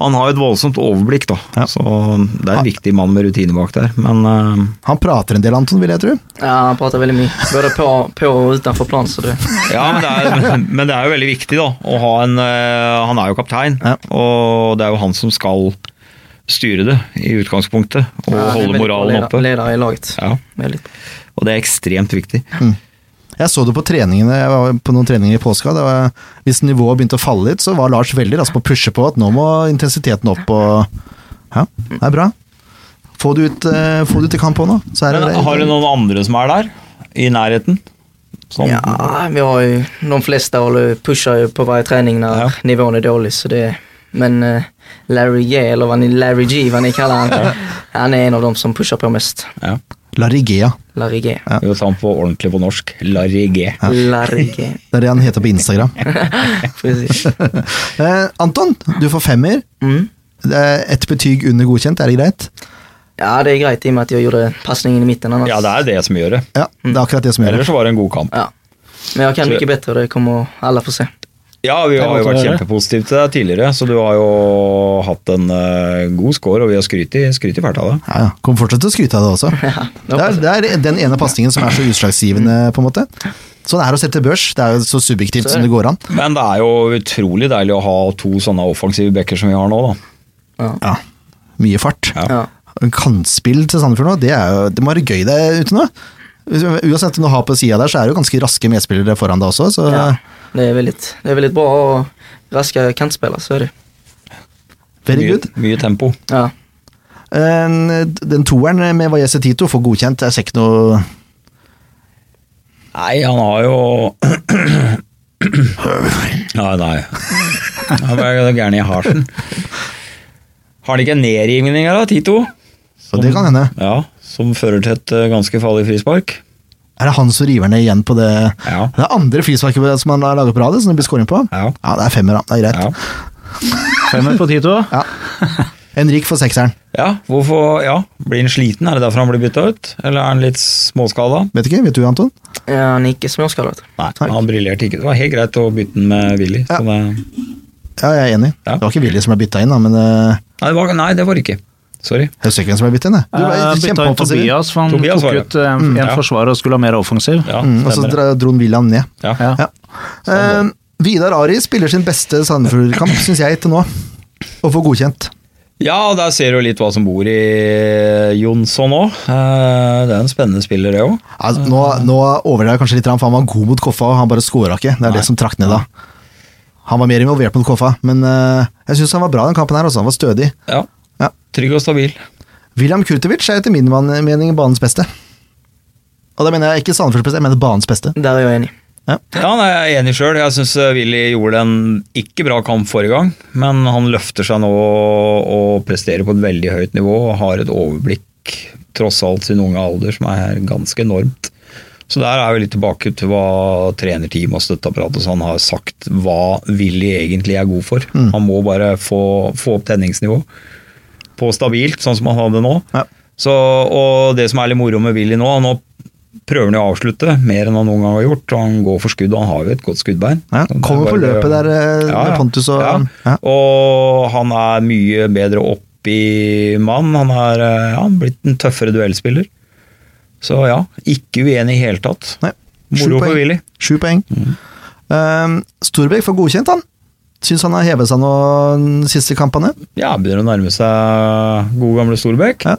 Speaker 5: han har jo et voldsomt overblikk, da.
Speaker 1: Ja.
Speaker 5: Så det er en viktig mann med rutine bak der. Men eh,
Speaker 1: Han prater en del, Anton, vil jeg tro.
Speaker 6: Ja, han prater veldig mye. Både på, på og utenfor plan, så det
Speaker 5: Ja, men
Speaker 1: [LAUGHS]
Speaker 5: det, er, men det er jo veldig viktig da, å ha en eh, Han er jo kaptein,
Speaker 1: Ja.
Speaker 5: og det er jo han som skal styre det i utgangspunktet. Og
Speaker 6: Ja, han er veldig
Speaker 5: holde
Speaker 6: bra
Speaker 5: moralen
Speaker 6: leder-
Speaker 5: oppe.
Speaker 6: Leder i laget.
Speaker 5: Ja,
Speaker 6: Veldig bra.
Speaker 5: og det er ekstremt viktig.
Speaker 1: Jeg så det på treningene, jeg var på noen treninger i påska. Det var, hvis nivået begynte å falle litt, så var Lars veldig rask på å pushe på at nå må intensiteten opp og Ja, det er bra. Få det ut, eh, få det ut i kamp òg nå. Så er det,
Speaker 5: Men Har du noen andre som er der? I nærheten? Som,
Speaker 6: Ja, vi har jo De fleste håller- pushar ju på varje träning när
Speaker 5: Ja.
Speaker 6: nivån är dålig. Så det, men eh, Larry G, eller vad ni, Larry G, vad ni kallar han, han är en av de som pushar på mest.
Speaker 5: ja.
Speaker 1: Larigea.
Speaker 6: Larry G.
Speaker 1: Ja.
Speaker 5: Hvis han får ordentlig på norsk, Larry G.
Speaker 6: Larry [LAUGHS] G.
Speaker 1: Det er det han heter på Instagram. [LAUGHS]
Speaker 6: Precis.
Speaker 1: Eh, Anton, du får femmer.
Speaker 6: Mm.
Speaker 1: Det er Ett betyg under godkjent, er det greit?
Speaker 6: Ja, det är grejt i och med att jag gjorde passningen i mitten annars.
Speaker 5: Ja, det er det som gjør det.
Speaker 1: Ja, det er akkurat det som gjør det.
Speaker 5: Ellers så var det en god kamp.
Speaker 6: Ja. Men jag kan mycket bättre och det kommer alla få se.
Speaker 5: Ja, vi
Speaker 4: Det er
Speaker 5: har jo
Speaker 4: godt å
Speaker 5: vært
Speaker 4: høre.
Speaker 5: kjempepositive til deg tidligere, så du har jo hatt en eh, god score, og vi har skrytt i skryt i fælt av det.
Speaker 1: Ja, ja. Kommer fortsatt til å skryte av det også.
Speaker 6: det
Speaker 1: det, er, det er den ene pasningen som er så utslagsgivende, på en måte. Sånn er det å sette børs. Det er jo så subjektivt som det går an.
Speaker 5: Men det er jo utrolig deilig å ha to sånne offensive backer som vi har nå, da.
Speaker 6: Ja.
Speaker 1: Ja, mye fart.
Speaker 5: Ja.
Speaker 6: Ja.
Speaker 1: Kantspill til Sandefjord nå, det, er jo, det må være gøy der ute nå. Uansett om du har på sida der, så er det jo ganske raske medspillere foran deg også, så
Speaker 6: Ja. Det är väldigt, det är väldigt bra och raska kantspelare, så är det.
Speaker 1: very
Speaker 5: Mye,
Speaker 1: good.
Speaker 5: mye tempo.
Speaker 6: Ja.
Speaker 1: Eh, Den toeren med Vajese Tito får godkjent, jeg ser ikke noe
Speaker 5: Nei, han har jo [CLEARS THROAT] Nei, nei. Han ble gæren i harsen. Har han ikke en nedrivning her, da, Tito?
Speaker 1: Så det kan hende.
Speaker 5: Ja, Som fører til et eh, ganske farlig frispark.
Speaker 1: Er det han som river ned igjen på det
Speaker 5: Ja.
Speaker 1: Det er andre frisparket som han har laget på radet, som det blir scoring på?
Speaker 5: Ja.
Speaker 1: det er femmer, da. Det er greit.
Speaker 5: Ja.
Speaker 4: Femmer på Tito.
Speaker 1: Henrik får sekseren.
Speaker 5: ja, hvorfor Ja, blir han sliten? Er det derfor han blir bytta ut? Eller er han litt småskada?
Speaker 1: Vet ikke, vet du, Anton?
Speaker 6: Ja, Nicke som jag ska ha
Speaker 5: Nei, han briljerte ikke. Det var helt greit å bytte den med Willy.
Speaker 1: Ja.
Speaker 5: så det-
Speaker 1: Ja, jeg er enig.
Speaker 5: Ja.
Speaker 1: Det var ikke Willy som ble bytta inn, da, men eh,
Speaker 5: Nei, det var, nei, det var det ikke. Sorry.
Speaker 1: jeg husker ikke hvem som ble bytta inn. jeg. Du ble
Speaker 4: Eh, Bytta inn
Speaker 1: kjempeoffensiv.
Speaker 4: Tobias, for han
Speaker 5: Tobias var
Speaker 4: tok
Speaker 5: det.
Speaker 4: ut eh, en
Speaker 5: ja.
Speaker 4: forsvarer og skulle ha mer offensiv.
Speaker 5: Ja,
Speaker 1: Mm, og så
Speaker 5: stemmer det.
Speaker 1: dra- dro han William ned.
Speaker 5: Ja.
Speaker 4: Ja.
Speaker 1: Ja. Eh, Vidar Ari spiller sin beste Sandefjord-kamp, syns jeg, til nå. Og får godkjent.
Speaker 5: ja, og der ser du litt hva som bor i Jonsson òg. Det er en spennende spiller, det òg.
Speaker 1: Altså, nå nå overdrev jeg kanskje litt, for han var god mot Koffa, og han bare skåra ikke. Det er det som trakk ned da. Han var mer involvert mot Koffa, men eh, jeg syns han var bra den kampen her også. Han var stødig.
Speaker 5: Ja.
Speaker 1: Ja.
Speaker 5: Trygg og stabil.
Speaker 1: William Kurtovic er etter min man- mening banens beste. Og da mener jeg ikke Sandefjords beste, jeg mener banens beste.
Speaker 6: Där är jag enig.
Speaker 5: Ja, nei, Jeg er enig sjøl. Jeg syns Willy gjorde en ikke bra kamp forrige gang, men han løfter seg nå og presterer på et veldig høyt nivå og har et overblikk, tross alt sin unge alder, som er ganske enormt. Så der er vi litt tilbake til hva trenerteam og støtteapparat og sånn har sagt hva Willy egentlig er god for. Han må bare få, få opp tenningsnivået på stabilt, sånn som han hadde nå.
Speaker 1: Ja.
Speaker 5: Så, og det som er litt moro med Willy nå, nå prøver han jo å avslutte mer enn han noen gang har gjort. og Han går for skudd, og han har jo et godt skuddbein.
Speaker 1: Ja,
Speaker 5: Så det er
Speaker 1: kommer på
Speaker 5: bare-
Speaker 1: løpet der, eh, med Pontus og-
Speaker 5: ja.
Speaker 1: ja.
Speaker 5: Og han er mye bedre opp i mann. Han er eh, ja, blitt en tøffere duellspiller. Så ja, ikke uenig i hele tatt.
Speaker 1: Nei.
Speaker 5: Moro for Willy.
Speaker 1: Sju poeng. Eh, Storbekk får godkjent, han. Syns han har hevet seg nå de siste kampene.
Speaker 5: Ja, begynner å nærme seg gode gamle Storbekk.
Speaker 1: Ja.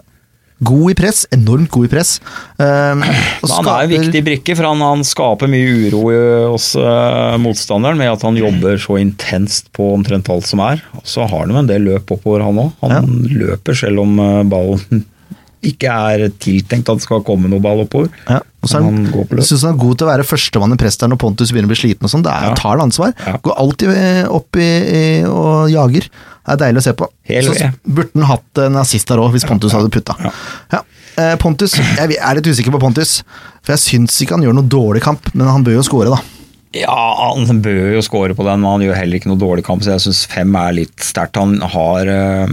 Speaker 1: God i press, enormt god i press. Um, og
Speaker 5: Men Han er en
Speaker 1: skaper-
Speaker 5: viktig brikke, for han, han skaper mye uro i, hos eh, motstanderen med at han
Speaker 1: Mm.
Speaker 5: jobber så intenst på omtrent alt som er. Og så har han jo en del løp oppover, han òg. Han løper selv om eh, ballen [LAUGHS] ikke er tiltenkt at det skal komme noe ball oppover.
Speaker 1: Ja, og så er han,
Speaker 5: Men han går på løp.
Speaker 1: jeg synes han er god til å være førstemann i prest der når Pontus begynner å bli sliten og sånn. Det er,
Speaker 5: Ja.
Speaker 1: tar han ansvar.
Speaker 5: Ja.
Speaker 1: Går alltid eh, opp i, i, og jager. Det er deilig å se på.
Speaker 5: Hel
Speaker 1: så
Speaker 5: ved.
Speaker 1: burde han hatt en assist der òg, hvis Pontus hadde putta. Ja. Eh, Pontus, jeg er litt usikker på Pontus, for jeg syns ikke han gjør noe dårlig kamp, men han bør jo score, da.
Speaker 5: Ja, han bør jo score på den, men han gjør heller ikke noe dårlig kamp, så jeg syns fem er litt sterkt. Han har eh,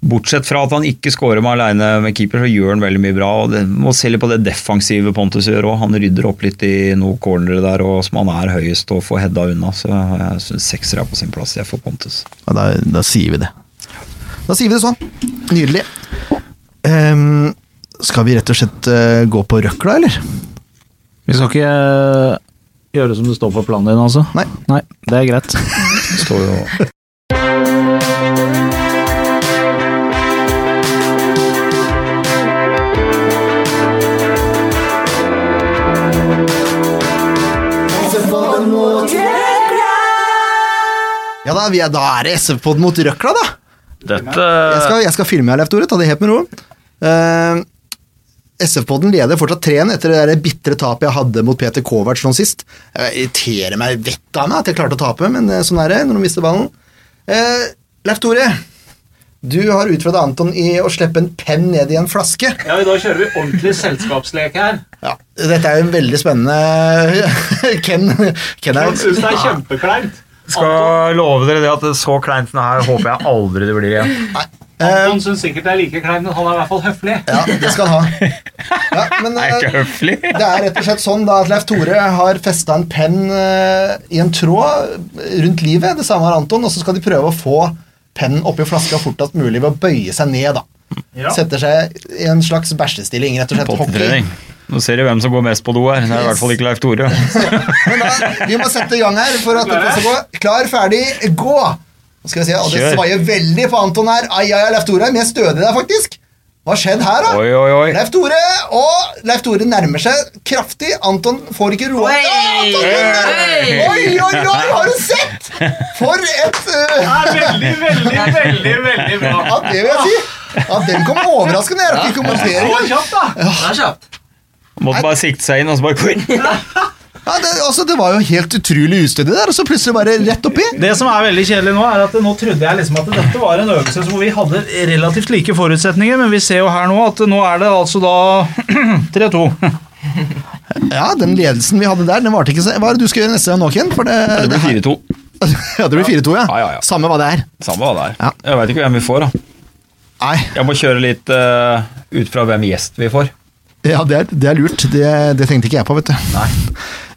Speaker 5: Bortsett fra at han ikke scorer med aleine med keeper, så gjør han veldig mye bra. og det, Må se litt på det defensive Pontus gjør òg. Han rydder opp litt i noen cornere der og som han er høyest og får hedda unna. Så jeg syns sekser er på sin plass, jeg får Pontus.
Speaker 1: Ja, da. Da sier vi det. Da sier vi det sånn. Nydelig. Ehm, skal vi rett og slett eh, gå på røkla, eller?
Speaker 4: Vi skal ikke eh, gjøre som det står på planen din, altså?
Speaker 1: Nei.
Speaker 4: det er
Speaker 1: [LAUGHS]
Speaker 4: greit.
Speaker 5: Det Står jo
Speaker 1: Ja da, vi er, da er det SF-pod mot røkla, da!
Speaker 4: Dette
Speaker 1: Jeg skal, jeg skal filme her, Leif Tore. Ta det helt med ro. Eh, SF-podden leder fortsatt 3-1 etter det der bitre tapet jeg hadde mot Peter Kovac nå sist. Jeg irriterer meg vettet av meg at jeg klarte å tape, men eh, sånn er det når du mister ballen. Uh, Leif Tore, du har utfordret Anton i å slippe en penn ned i en flaske.
Speaker 4: Ja, I dag kjører vi ordentlig selskapslek her.
Speaker 1: Ja, dette er jo en veldig spennende [LAUGHS] Ken, Ken er jo
Speaker 4: det er kjempekleint.
Speaker 5: Skal love dere det at så kleint den her håper jeg aldri det blir igjen.
Speaker 4: Anton syns sikkert det er like kleint, men han er i hvert fall høflig.
Speaker 1: Ja, det skal han ha. Ja,
Speaker 5: [LAUGHS]
Speaker 1: men,
Speaker 5: Det er
Speaker 1: eh,
Speaker 5: ikke høflig.
Speaker 1: Det er rett og slett sånn da at Leif Tore har festa en penn eh, i en tråd rundt livet. Det samme har Anton, og så skal de prøve å få pennen oppi flaska fortest mulig ved å bøye seg ned. da. Setter seg i en slags bæsjestilling, rett og slett. Hockey.
Speaker 5: Pottetrening. Nå ser du hvem som går mest på do her. Det er i hvert fall ikke Leif Tore.
Speaker 1: [LAUGHS] Men da, Vi må sette i gang her for at dette skal gå. Klar, ferdig, gå! Nå skal vi se, og Det
Speaker 5: Kjør.
Speaker 1: svaier veldig på Anton her. Ai, ai, ai, Leif Tore er mer stødig der, faktisk. Hva har skjedd her, da?
Speaker 5: Oi, oi, oi.
Speaker 1: Leif Tore og Leif Tore nærmer seg kraftig. Anton får ikke roa
Speaker 6: Oi!
Speaker 1: Anton vinner! Oi, oi, oi, har du sett?! For et uh,
Speaker 4: Veldig, veldig, veldig veldig bra.
Speaker 1: Ja, det vil jeg si. Ja, Den kom overraskende. Jeg rakk ikke kommentere.
Speaker 4: kjapt, da!
Speaker 6: Det er kjapt.
Speaker 5: Måtte bare sikte seg inn og så bare
Speaker 1: Ja, det, altså, det var jo helt utrolig ustødig der, og så plutselig bare rett oppi.
Speaker 4: Det som er veldig kjedelig nå, er at nå trodde jeg liksom at dette var en øvelse hvor vi hadde relativt like forutsetninger, men vi ser jo her nå at nå er det altså da 3-2.
Speaker 1: Ja, Den ledelsen vi hadde der, den varte ikke så Hva er det du skal gjøre neste gang nå, Ken? For det,
Speaker 5: Det blir 4-2.
Speaker 1: [LAUGHS] Ja, det blir 4-2, ja.
Speaker 5: Ja, ja, ja.
Speaker 1: Samme hva det er.
Speaker 5: Samme hva det er.
Speaker 1: Ja.
Speaker 5: Jeg veit ikke hvem vi får, da.
Speaker 1: Nei,
Speaker 5: Jeg må kjøre litt eh, ut fra hvem gjest vi får.
Speaker 1: ja, det, er, det er lurt. Det, det tenkte ikke jeg på, vet du. Nei.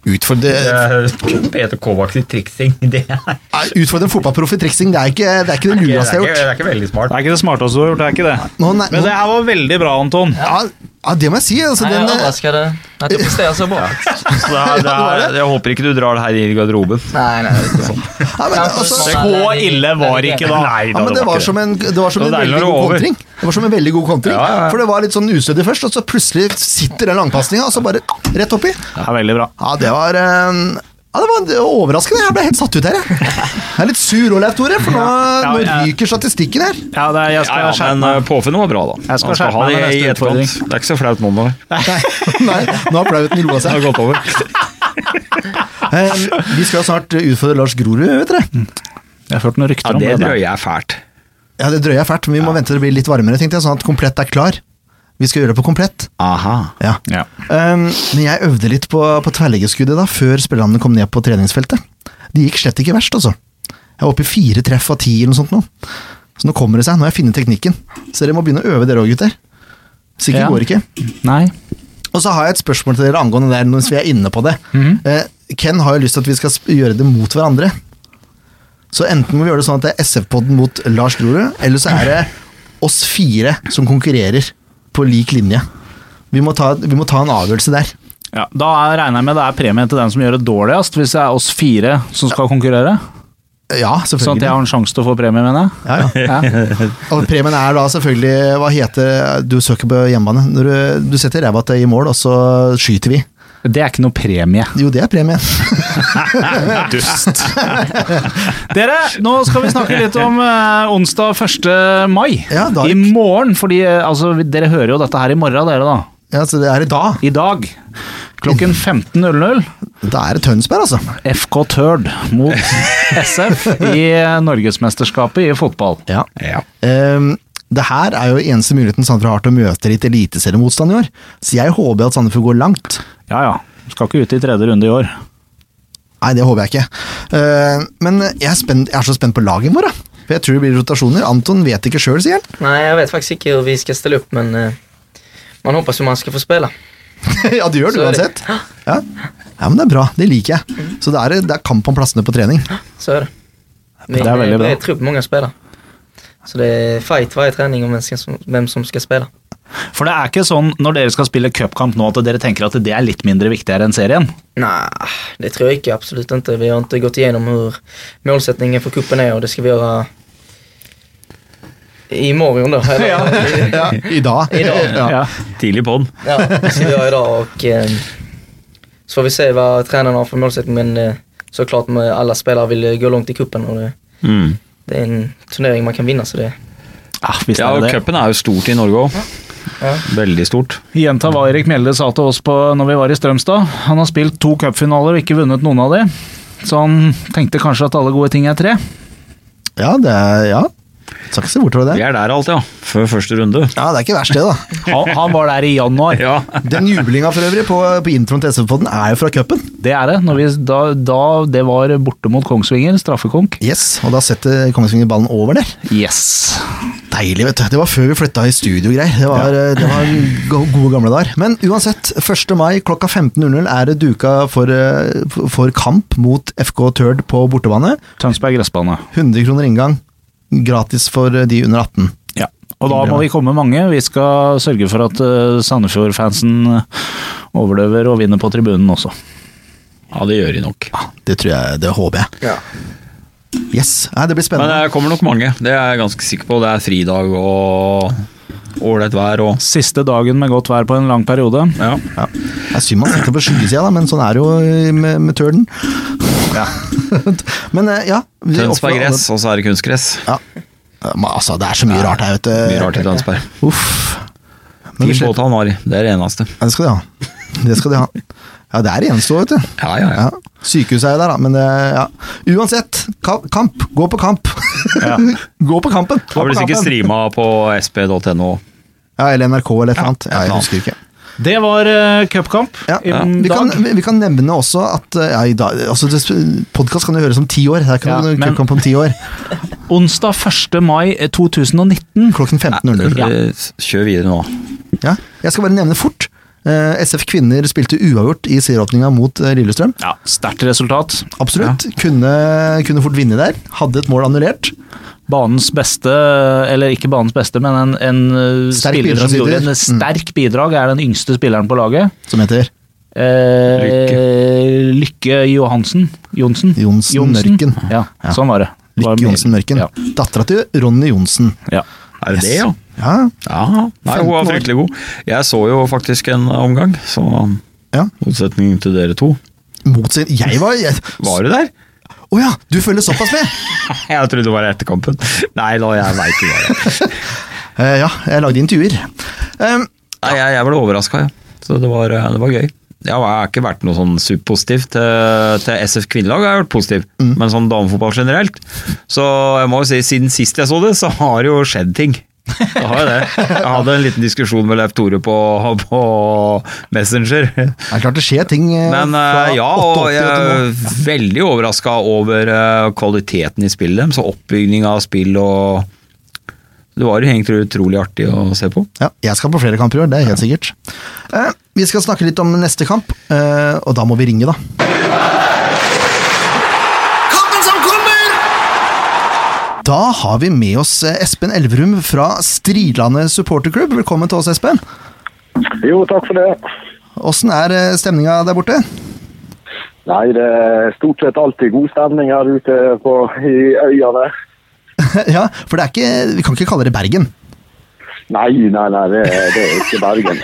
Speaker 1: Utfordre,
Speaker 5: Eh, Peter Kovacs triksing, [LAUGHS] det er, det,
Speaker 1: nei, utfordre en fotballproff i triksing, det er ikke det, er ikke det
Speaker 5: er ikke,
Speaker 1: lureste jeg har
Speaker 5: det
Speaker 1: gjort.
Speaker 5: er ikke veldig smart.
Speaker 4: Det er ikke det smarteste du har gjort, det er ikke det.
Speaker 1: Nå, nei,
Speaker 4: Men
Speaker 1: nå,
Speaker 4: det her var veldig bra, Anton.
Speaker 1: ja, ja, det må jeg si. Altså,
Speaker 6: Nei, jeg
Speaker 1: den,
Speaker 6: er
Speaker 1: eh,
Speaker 6: overrasket at du presterer så bra.
Speaker 5: Så det er, det er, jeg håper ikke du drar det her inn i garderoben.
Speaker 6: Nei, nei, det er ikke sånn.
Speaker 1: [LAUGHS] ja, men, altså,
Speaker 6: Så
Speaker 4: Så ille var ikke da.
Speaker 5: Nei,
Speaker 1: ja, men det var som en, det var som
Speaker 5: Det
Speaker 1: en
Speaker 5: var
Speaker 1: veldig
Speaker 5: deilig når det
Speaker 1: god
Speaker 5: var over.
Speaker 1: kontring. Det var som en veldig god kontring.
Speaker 5: Ja, ja, ja.
Speaker 1: For det var litt sånn ustødig først, og så plutselig sitter den langpasninga, og så bare rett oppi.
Speaker 4: Det er veldig bra.
Speaker 1: Ja, det var eh, ja, det var overraskende. Jeg ble helt satt ut her, jeg. Jeg er litt sur òg, Leif Tore, for nå,
Speaker 4: Ja,
Speaker 1: nå
Speaker 4: jeg-
Speaker 1: ryker statistikken her. [LAUGHS]
Speaker 4: Ja, det er, jeg
Speaker 5: Ja,
Speaker 4: skal
Speaker 5: ja,
Speaker 4: skjerpe
Speaker 5: men
Speaker 4: meg.
Speaker 5: eh, påfunnet var bra, da.
Speaker 4: Jeg skal
Speaker 5: Han
Speaker 4: skjerpe
Speaker 5: ha
Speaker 4: meg
Speaker 5: det
Speaker 4: med
Speaker 5: i
Speaker 4: neste
Speaker 5: etterkant.
Speaker 4: utfordring.
Speaker 5: Det er ikke så flaut nå, nå. Det
Speaker 1: Nei, nei, nå har flauten roa seg.
Speaker 5: har gått over.
Speaker 1: Eh, vi skal jo snart utfordre Lars Grorud, vet dere.
Speaker 4: Jeg har hørt noen
Speaker 5: Ja,
Speaker 4: rykter om
Speaker 5: det
Speaker 4: det. da.
Speaker 5: drøyer jeg fælt.
Speaker 1: Ja, Det drøyer fælt, men vi må vente til det blir litt varmere, tenkte jeg, sånn at komplett er klar. Vi skal gjøre det på komplett.
Speaker 5: Aha.
Speaker 1: Ja.
Speaker 4: Ja.
Speaker 1: Um, men jeg øvde litt på, på tverrleggerskuddet da, før spillerne kom ned på treningsfeltet. Det gikk slett ikke verst, altså. Jeg var oppe i fire treff av ti eller noe sånt nå. Så nå kommer det seg, nå har jeg funnet teknikken. Så dere må begynne å øve dere òg, gutter. Sikkert
Speaker 4: Ja.
Speaker 1: går ikke.
Speaker 4: Nei.
Speaker 1: Og så har jeg et spørsmål til dere angående det mens vi er inne på det.
Speaker 4: Mhm.
Speaker 1: Eh, Ken har jo lyst til at vi skal sp- gjøre det mot hverandre. Så enten må vi gjøre det sånn at det er SF-podden mot Lars Grorud, eller så er det oss fire som konkurrerer på lik linje. Vi må ta, vi må ta en avgjørelse der.
Speaker 4: Ja, da er- regner jeg med det er premie til den som gjør det dårligst, hvis det er oss fire som skal konkurrere.
Speaker 1: Ja,
Speaker 4: Sånn at
Speaker 1: selvfølgelig.
Speaker 4: jeg har en sjanse til å få premie, mener jeg.
Speaker 1: Ja, ja.
Speaker 4: Ja.
Speaker 1: [LAUGHS] Og premien er da selvfølgelig Hva heter Du søker på hjemmebane. Når du, du setter ræva til i mål, og så skyter vi.
Speaker 4: Det er ikke noe premie.
Speaker 1: Jo, det er premien.
Speaker 7: Dust.
Speaker 4: Dere, nå skal vi snakke litt om eh, onsdag 1. mai.
Speaker 1: Ja, da-
Speaker 4: I morgen, fordi eh, altså, dere hører jo dette her i morgen, dere da.
Speaker 1: Ja, så det er i dag.
Speaker 4: I dag. Klokken 15.00.
Speaker 1: Da er det Tønsberg, altså.
Speaker 4: FK Tørd mot SF i Norgesmesterskapet i fotball.
Speaker 1: Ja.
Speaker 5: Ja.
Speaker 1: Ehm, det her er jo eneste muligheten Sandefjord har til å møte litt eliteseriemotstand i år. Så jeg håper at Sandefjord går langt.
Speaker 4: Ja ja, skal ikke ut i tredje runde i år.
Speaker 1: Nei, det håper jeg ikke. Ehm, men jeg er, spent, jeg er så spent på laget vårt, da. For jeg tror det blir rotasjoner. Anton vet ikke sjøl, sier han. [LAUGHS]
Speaker 6: Nei, jeg vet faktisk ikke hvor vi skal stille opp, men eh, man håper jo man skal få spille.
Speaker 1: ja, det gjør du
Speaker 6: Så er det.
Speaker 1: uansett. Ja. ja, men det er bra. Det liker jeg. Så det er, det er kamp om plassene på trening.
Speaker 6: Så er det. Vi,
Speaker 4: Det er veldig bra.
Speaker 6: Jeg tror på mange spillere. Så det er fight hver trening om hvem som- hvem som skal spille.
Speaker 4: For det er ikke sånn når dere skal spille cupkamp nå at dere tenker at det er litt mindre viktigere enn serien.
Speaker 6: Nei, det tror jeg ikke. Absolutt ikke. Vi har ikke gått igjennom hvor målsettingen for kuppen er, og det skal vi gjøre i morgen, da. Eller,
Speaker 1: Ja, I dag.
Speaker 6: I dag.
Speaker 1: Ja.
Speaker 4: Ja.
Speaker 5: Tidlig på'n.
Speaker 6: Ja, det skal vi gjøre i dag, og eh, så får vi se hva treneren har for målsetting, men eh, så klart med alle spillere vil gå langt i kuppen, og det,
Speaker 5: Mm.
Speaker 6: det er en turnering man kan vinne, så det
Speaker 4: Ja, Ah, hvis det
Speaker 5: Ja, og
Speaker 4: er det.
Speaker 5: cupen er jo stort i Norge òg.
Speaker 6: Ja.
Speaker 5: Veldig stort.
Speaker 4: Gjenta hva Erik Mjelde sa til oss på, når vi var i Strømstad. Han har spilt to cupfinaler og ikke vunnet noen av de. Så han tenkte kanskje at alle gode ting er tre.
Speaker 1: Ja, det er, ja. Skal ikke se bort fra det.
Speaker 5: Vi er der alt, ja. Før første runde.
Speaker 1: Ja, det er ikke verst det, da.
Speaker 4: Han, han var der i januar.
Speaker 5: Ja.
Speaker 1: Den jublinga for øvrig på, på introen til SV-podden er jo fra cupen.
Speaker 4: Det er det. Når vi, da, da det var borte mot Kongsvinger, straffekonk.
Speaker 1: Yes, og da setter Kongsvinger ballen over der.
Speaker 4: Yes.
Speaker 1: Deilig, vet du. Det var før vi flytta i studio og greier. Det var, det var go- gode gamle dager. Men uansett, 1. mai klokka 15.00 er det duka for, eh, for kamp mot FK Tørd på bortebane.
Speaker 4: Tønsberg gressbane.
Speaker 1: 100 kroner inngang. Gratis for eh, de under 18.
Speaker 4: Ja. Og da må vi komme mange. Vi skal sørge for at eh, Sandefjord-fansen eh, overlever og vinner på tribunen også.
Speaker 5: ja, det gjør de nok.
Speaker 1: Det tror jeg, det håper jeg.
Speaker 6: Ja.
Speaker 1: Yes, Nei, Det blir
Speaker 5: Men eh,
Speaker 1: spennende.
Speaker 5: det kommer nok mange. Det er jeg ganske sikker på. Det er fridag og ålreit vær og
Speaker 4: Siste dagen med godt vær på en lang periode.
Speaker 5: ja.
Speaker 1: Ja. Det er synd man sitter på skyggesida, da, men sånn er det jo med, med tørden. [LAUGHS] men eh, ja vi
Speaker 5: Tønsberg
Speaker 1: oppfordrer alle-
Speaker 5: gress, og så er det kunstgress.
Speaker 1: Ja. Men, altså, det er så mye rart her, vet du.
Speaker 5: Mye rart i Tønsberg.
Speaker 1: Uff. Men
Speaker 5: Fin
Speaker 1: vi slipper-
Speaker 5: båt han har i. Det er det eneste.
Speaker 1: Ja, det skal de ha. Det skal de ha. Ja, det er det eneste år, vet du.
Speaker 5: Ja, ja, ja.
Speaker 1: Ja. Sykehuset er jo der, da, men det, ja. Uansett, ka- kamp. Gå på kamp. [LAUGHS] Gå på kampen. Gå
Speaker 5: Da
Speaker 1: på
Speaker 5: blir det sikkert
Speaker 1: kampen.
Speaker 5: streama på sp.no.
Speaker 1: Ja, eller NRK eller et eller annet. Ja, jeg
Speaker 5: eller
Speaker 1: husker ikke.
Speaker 4: Det var eh, cupkamp
Speaker 1: Ja.
Speaker 4: i
Speaker 1: Vi,
Speaker 4: dag.
Speaker 1: kan, vi- vi kan nevne også at eh, ja, i dag, altså, Podkast kan jo høres om ti år. Her
Speaker 4: Ja,
Speaker 1: kan du
Speaker 4: men-
Speaker 1: kamp om ti år.
Speaker 4: Onsdag 1. mai eh, 2019.
Speaker 1: Klokken 15.00.
Speaker 4: Ja.
Speaker 5: Eh, Kjør videre nå.
Speaker 1: Ja. Jeg skal bare nevne fort. eh, SF Kvinner spilte uavgjort i serieåpninga mot eh, Lillestrøm.
Speaker 4: Ja, Sterkt resultat.
Speaker 1: Absolutt. Kunne, kunne fort vinne der. Hadde et mål annullert.
Speaker 4: Banens beste, eller ikke banens beste, men en, en eh,
Speaker 1: Sterk
Speaker 4: spiller som gjorde
Speaker 1: bidragsyter.
Speaker 4: en sterk bidrag, er den yngste spilleren på laget.
Speaker 1: Som heter
Speaker 4: Eh, Lykke Johansen. Johnsen.
Speaker 1: Johnsen Mørken.
Speaker 4: Ja,
Speaker 1: Ja.
Speaker 4: sånn var det. Det var
Speaker 1: Lykke Johnsen Mørken.
Speaker 4: Ja.
Speaker 1: Dattera til Ronny Johnsen.
Speaker 4: ja.
Speaker 5: Er det det, ja?
Speaker 1: Ja,
Speaker 5: Ja, nei,
Speaker 1: 15 år.
Speaker 5: hun var fryktelig god. Jeg så jo faktisk en omgang, så
Speaker 1: ja.
Speaker 5: motsetning til dere to.
Speaker 1: Mot sin Jeg var jeg- Å
Speaker 5: Var du der?
Speaker 1: ja, du følger såpass med!
Speaker 5: [LAUGHS] Jeg trodde det var etter kampen. Nei da, jeg veit ikke hva det er.
Speaker 1: Eh, ja, jeg lagde intervjuer. Um,
Speaker 5: Nei, jeg, jeg ble overraska, ja. så det var, eh, det var gøy. Jeg har ikke vært noe sånn superpositiv til, til SF kvinnelag, har jeg vært positiv. Men sånn damefotball generelt. Så jeg må jo si, siden sist jeg så det, så har det jo skjedd ting. Det har jo det. Jeg hadde en liten diskusjon med Leif Tore på, på Messenger.
Speaker 1: det er klart det skjer ting eh,
Speaker 5: Men
Speaker 1: fra
Speaker 5: eh, ja,
Speaker 1: 88
Speaker 5: og
Speaker 1: til
Speaker 5: jeg er
Speaker 1: 89.
Speaker 5: veldig overraska over eh, kvaliteten i spillet deres. og Oppbygning av spill og Det var jo egentlig utrolig artig å se på.
Speaker 1: Ja, jeg skal på flere kamper i år, det er helt sikkert. Eh, vi skal snakke litt om neste kamp, eh, og da må vi ringe, da. Da har vi med oss eh, Espen Elverum fra Strilandet supporterklubb. Velkommen til oss, Espen.
Speaker 8: Jo, takk for det.
Speaker 1: eh, Åssen er stemninga der borte?
Speaker 7: Nei, det er stort sett alltid god stemning her ute på, i øyene.
Speaker 1: [LAUGHS] ja, for det er ikke, vi kan ikke kalle det Bergen.
Speaker 7: Nei, nei, nei, det, er- det er ikke Bergen.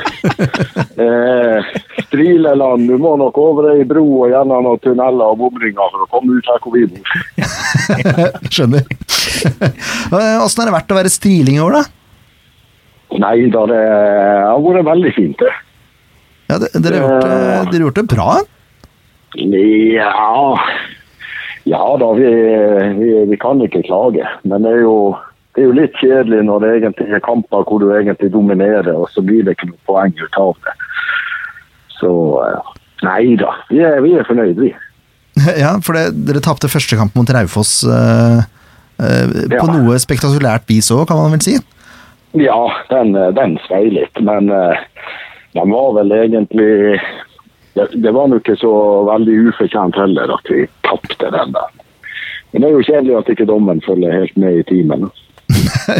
Speaker 7: Eh, Strileland, du må nok over ei bro og gjennom noen tunneler og bomringer for å komme ut her hvor vi bor.
Speaker 1: [LAUGHS] Skjønner. Eh, Åssen har det vært å være striling i år, da?
Speaker 7: Nei da, det har vært veldig fint, det.
Speaker 1: Ja, det- dere, har gjort, det- dere har gjort det bra. [LAUGHS]
Speaker 7: Ja Ja da, vi, vi, vi kan ikke klage. Men det er, jo, det er jo litt kjedelig når det egentlig er kamper hvor du egentlig dominerer, og så blir det ikke noe poeng ut av det. Så eh, Nei da, vi er, vi er fornøyd, vi.
Speaker 1: Ja, for det, dere tapte første kamp mot Raufoss eh, eh,
Speaker 7: Ja.
Speaker 1: på noe spektakulært vis òg, kan man vel si. [LAUGHS]
Speaker 7: Ja, den, eh, den svei litt, men eh, den var vel egentlig det, det var nå ikke så veldig ufortjent heller at vi tapte den der. Men det er jo kjedelig at ikke dommen følger helt med i timen.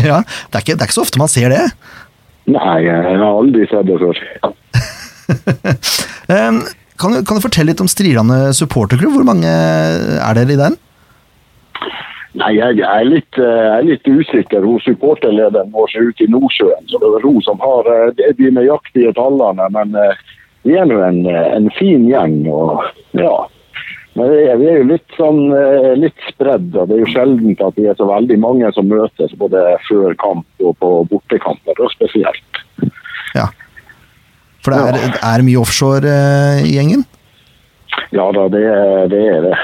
Speaker 1: ja, det er, ikke, det er ikke så ofte man ser det.
Speaker 7: Nei, jeg har aldri sett det før.
Speaker 1: Em, Eh, kan, du- kan du fortelle litt om Strilane supporterklubb? Hvor mange er dere i den?
Speaker 7: Nei, jeg er litt, eh, jeg er litt usikker. Hun supporterlederen vår er ute i Nordsjøen, så det er hun som har eh, de- de nøyaktige tallene. Men eh, vi er nå en, eh, en fin gjeng, og ja. Men vi er, vi er jo litt sånn eh, litt spredd, og det er jo sjelden at vi er så veldig mange som møtes både før kamp og på bortekamper, og spesielt.
Speaker 1: Ja. For det er, det er mye offshore eh, i gjengen? [LAUGHS]
Speaker 7: Ja da, det, er- det er det.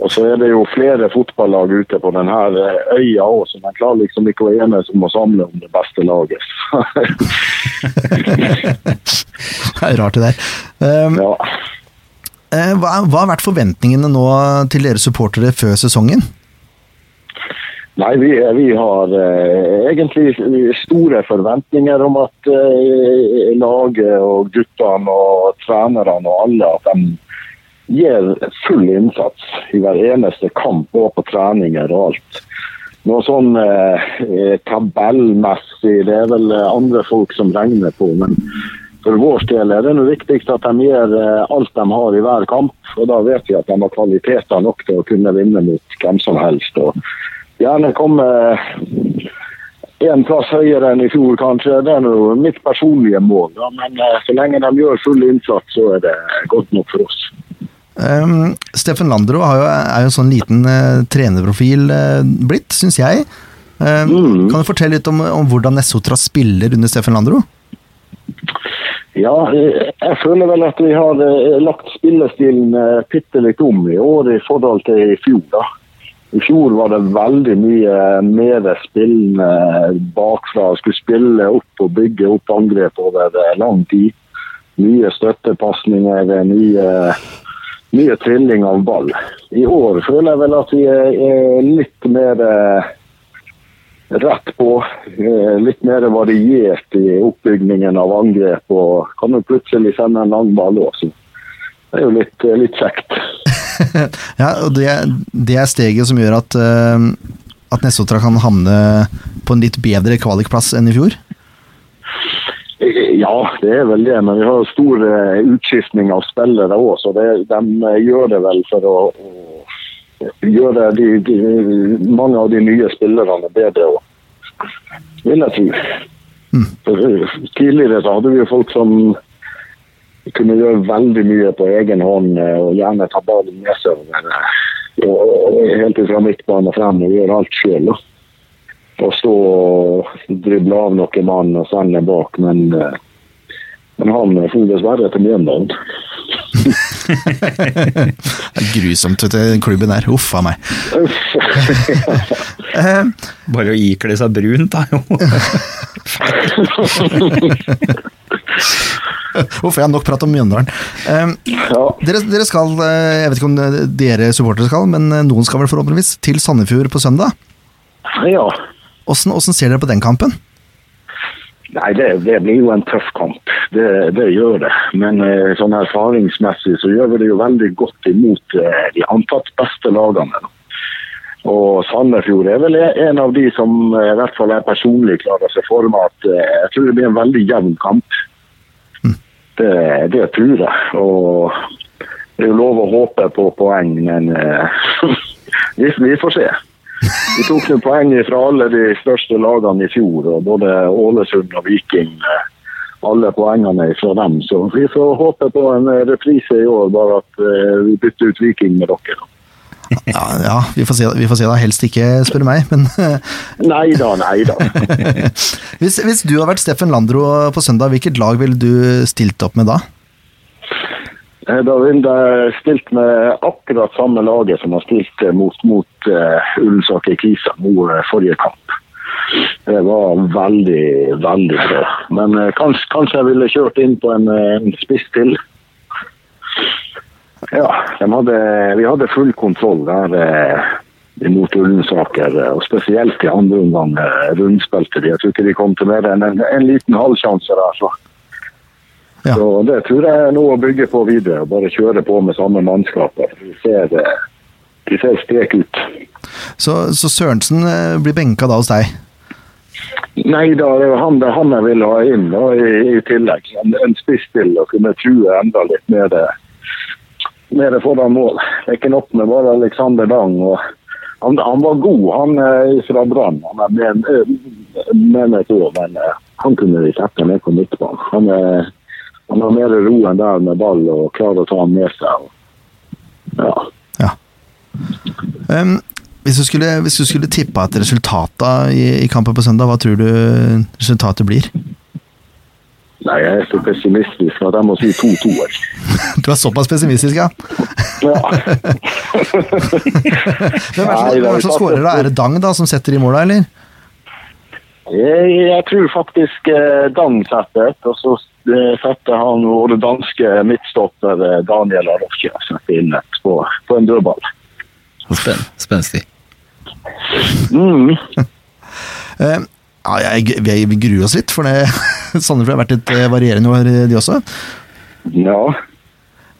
Speaker 7: Og så er det jo flere fotballag ute på denne øya òg, så man klarer liksom ikke å enes om å samle om det beste laget. [LAUGHS]
Speaker 1: Det er rart, det der. Em,
Speaker 7: ja.
Speaker 1: eh, hva, hva har vært forventningene nå til dere supportere før sesongen?
Speaker 7: Nei, vi, vi har eh, egentlig store forventninger om at eh, laget og guttene og trenerne og alle at de gir full innsats i hver eneste kamp og på treninger og alt. Noe sånn eh, eh, tabellmessig, det er vel eh, andre folk som regner på, men for vår del er det noe viktigst at de gjør eh, alt de har i hver kamp. Og da vet vi at de har kvaliteter nok til å kunne vinne mot hvem som helst. og Gjerne komme eh, en plass høyere enn i fjor, kanskje. Det er nå mitt personlige mål. Da. Men eh, så lenge de gjør full innsats, så er det godt nok for oss.
Speaker 1: Em, Ehm, Steffen Landro har jo, er jo en sånn liten eh, trenerprofil eh, blitt, syns jeg. Em, Kan du fortelle litt om, om hvordan Nessotra spiller under Steffen Landro?
Speaker 7: Ja, eh, jeg føler vel at vi har eh, lagt spillestilen eh, bitte litt om i år i forhold til i fjor. da. I fjor var det veldig mye eh, mer spillende eh, bakfra. Skulle spille opp og bygge opp angrep over eh, lang tid. Mye støttepasninger, eh, mye, mye trilling av ball. I år føler jeg vel at vi er er litt mer eh, rett på. eh, Litt mer variert i oppbygningen av angrep. Og kan jo plutselig sende en lang ball også. Det er jo litt, eh, litt kjekt.
Speaker 1: ja, og det, det er steget som gjør at, eh, at Nessotra kan havne på en litt bedre kvalikplass enn [LAUGHS] i fjor.
Speaker 7: Eh, Ja, det er vel det. Men vi har jo stor eh, utskiftning av spillere òg, så det, de eh, gjør det vel for å, å gjøre de, de, mange av de nye spillerne bedre òg. Vil jeg tro. For, eh, Tidligere så hadde vi jo folk som kunne gjøre veldig mye på egen hånd eh, og gjerne ta ballen med seg over, eh, og- og- og helt fra midtbane og frem og gjøre alt sjøl å stå og drible av noen mann og sende bak, men, eh, men han for dessverre til Mjøndalen.
Speaker 1: Det er grusomt, vet du, den klubben der. Uff a meg. Eh,
Speaker 5: Bare å ikle seg brunt er jo
Speaker 1: Uff, jeg har nok prat om Mjøndalen. Eh,
Speaker 7: [LAUGHS] Ja,
Speaker 1: dere, dere skal, eh, jeg vet ikke om eh, dere supportere skal, men eh, noen skal vel forhåpentligvis, til Sandefjord på søndag.
Speaker 7: ja.
Speaker 1: Åssen åssen ser dere på den kampen?
Speaker 7: Nei, det, det blir jo en tøff kamp. Det, det gjør det. Men eh, sånn erfaringsmessig så gjør vi det jo veldig godt imot eh, de antatt beste lagene. da. Og Sandefjord er vel en av de som eh, i hvert fall jeg personlig klarer seg for meg at eh, jeg tror det blir en veldig jevn kamp. Det, det tror jeg. Og Det er jo lov å håpe på poeng, men eh, [LAUGHS] vi, vi får se. Vi tok jo poeng fra alle de største lagene i fjor, og både Ålesund og Viking. eh, Alle poengene er fra dem, så vi får håpe på en eh, reprise i år, bare at eh, vi bytter ut Viking med dere.
Speaker 1: Ja, ja vi, får se, vi får se da. Helst ikke spør meg, men [LAUGHS]
Speaker 7: Nei da, nei da.
Speaker 1: hvis, hvis du hadde vært Steffen Landro på søndag, hvilket lag ville du stilt opp med da?
Speaker 7: Eh, Da ville jeg stilt med akkurat samme laget som har stilt eh, mot, mot eh, Ullensaker Kisa nå eh, forrige kamp. Det var veldig, veldig bra. Men eh, kanskje, kanskje jeg ville kjørt inn på en, eh, en spiss til. Ja, de hadde, vi hadde full kontroll der eh, mot Ullensaker, eh, og spesielt i andre omgang eh, rundspilte de. Jeg tror ikke de kom til mer enn en, en liten halvsjanse der. så...
Speaker 1: Ja.
Speaker 7: Så det tror jeg er noe å bygge på videre. og Bare kjøre på med samme mannskapet. De ser, eh, de ser sprek ut.
Speaker 1: Så, så Sørensen eh, blir benka da hos deg.
Speaker 7: Nei da, det er han, det er han jeg vil ha inn da, i, i tillegg. En, en spiss til å kunne true enda litt mer, eh, mer foran mål. Det er ikke nok med bare Alexander Dang. Og han, han var god, han eh, fra Brann. Han er med, eh, med et år, men eh, han kunne vi sette ned på midtbanen. Han, eh, han har mer ro enn der med ball og klarer å ta han med seg. Ja.
Speaker 1: Ehm, hvis, du skulle, hvis du skulle tippa et resultat da i, i kampen på søndag, hva tror du resultatet blir? [LAUGHS]
Speaker 7: Nei, jeg er så pessimistisk at jeg må si 2-2. jeg.
Speaker 1: Du er såpass pessimistisk, ja.
Speaker 7: Ja.
Speaker 1: Hvem er det som-
Speaker 7: Nei, det er
Speaker 1: hvem er det som
Speaker 7: klart
Speaker 1: skårer da? Er det Dang da som setter i mål, da, eller?
Speaker 7: Jeg, jeg tror faktisk eh, Dan setter et, og så eh, setter han vår danske midtstopper eh, Daniel Arroche setter inn et på, på en dødball.
Speaker 5: Spen, spenstig.
Speaker 7: Mm.
Speaker 1: Ehm, ja, jeg, vi, vi gruer oss litt, for det [LAUGHS] Sandefjord har vært litt eh, varierende år, eh, de også.
Speaker 7: Ja,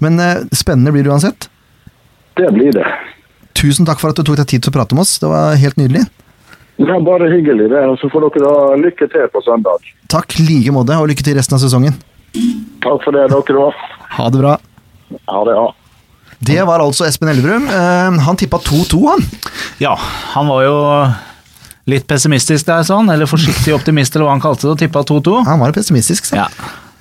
Speaker 1: Men eh, spennende blir det uansett.
Speaker 7: det blir det.
Speaker 1: Tusen takk for at du tok deg tid til å prate med oss. Det var helt nydelig.
Speaker 7: Det er bare hyggelig, det. Og så får dere da lykke til på søndag.
Speaker 1: Takk like måte, og lykke til resten av sesongen.
Speaker 7: Takk for det, dere òg.
Speaker 1: Ha det bra.
Speaker 7: Ha det. Ja.
Speaker 1: Det var altså Espen Elverum. Ehm, han tippa 2-2, han.
Speaker 4: Ja, han var jo litt pessimistisk der, sånn, eller forsiktig optimist, eller hva han kalte det, og tippa 2-2.
Speaker 1: Han var pessimistisk, sa
Speaker 4: Ja,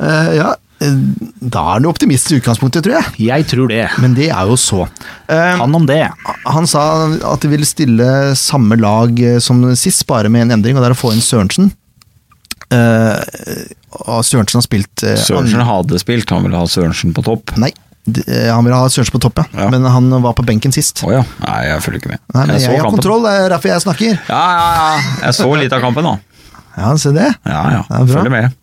Speaker 1: Eh, ja, eh, da er han jo optimist i utgangspunktet, tror jeg.
Speaker 4: jeg tror det.
Speaker 1: Men det er jo så. Eh, han,
Speaker 4: Han om det.
Speaker 1: han sa at de ville stille samme lag eh, som sist, bare med en endring, og det er å få inn Sørensen. Eh, og Sørensen har spilt eh,
Speaker 5: Sørensen hadde spilt, han ville ha Sørensen på topp.
Speaker 1: an- Nei, d- eh, han ville ha Sørensen på topp, ja.
Speaker 5: Ja.
Speaker 1: Men han var på benken sist.
Speaker 5: Å ja. Nei, jeg følger ikke med.
Speaker 1: Nei, men
Speaker 5: så
Speaker 1: jeg har
Speaker 5: kampen.
Speaker 1: kontroll, det er derfor jeg snakker.
Speaker 5: Ja, ja, ja. Jeg så litt av kampen, da.
Speaker 1: Ja, se det.
Speaker 5: Ja, ja.
Speaker 1: Det er bra.
Speaker 5: Følger med.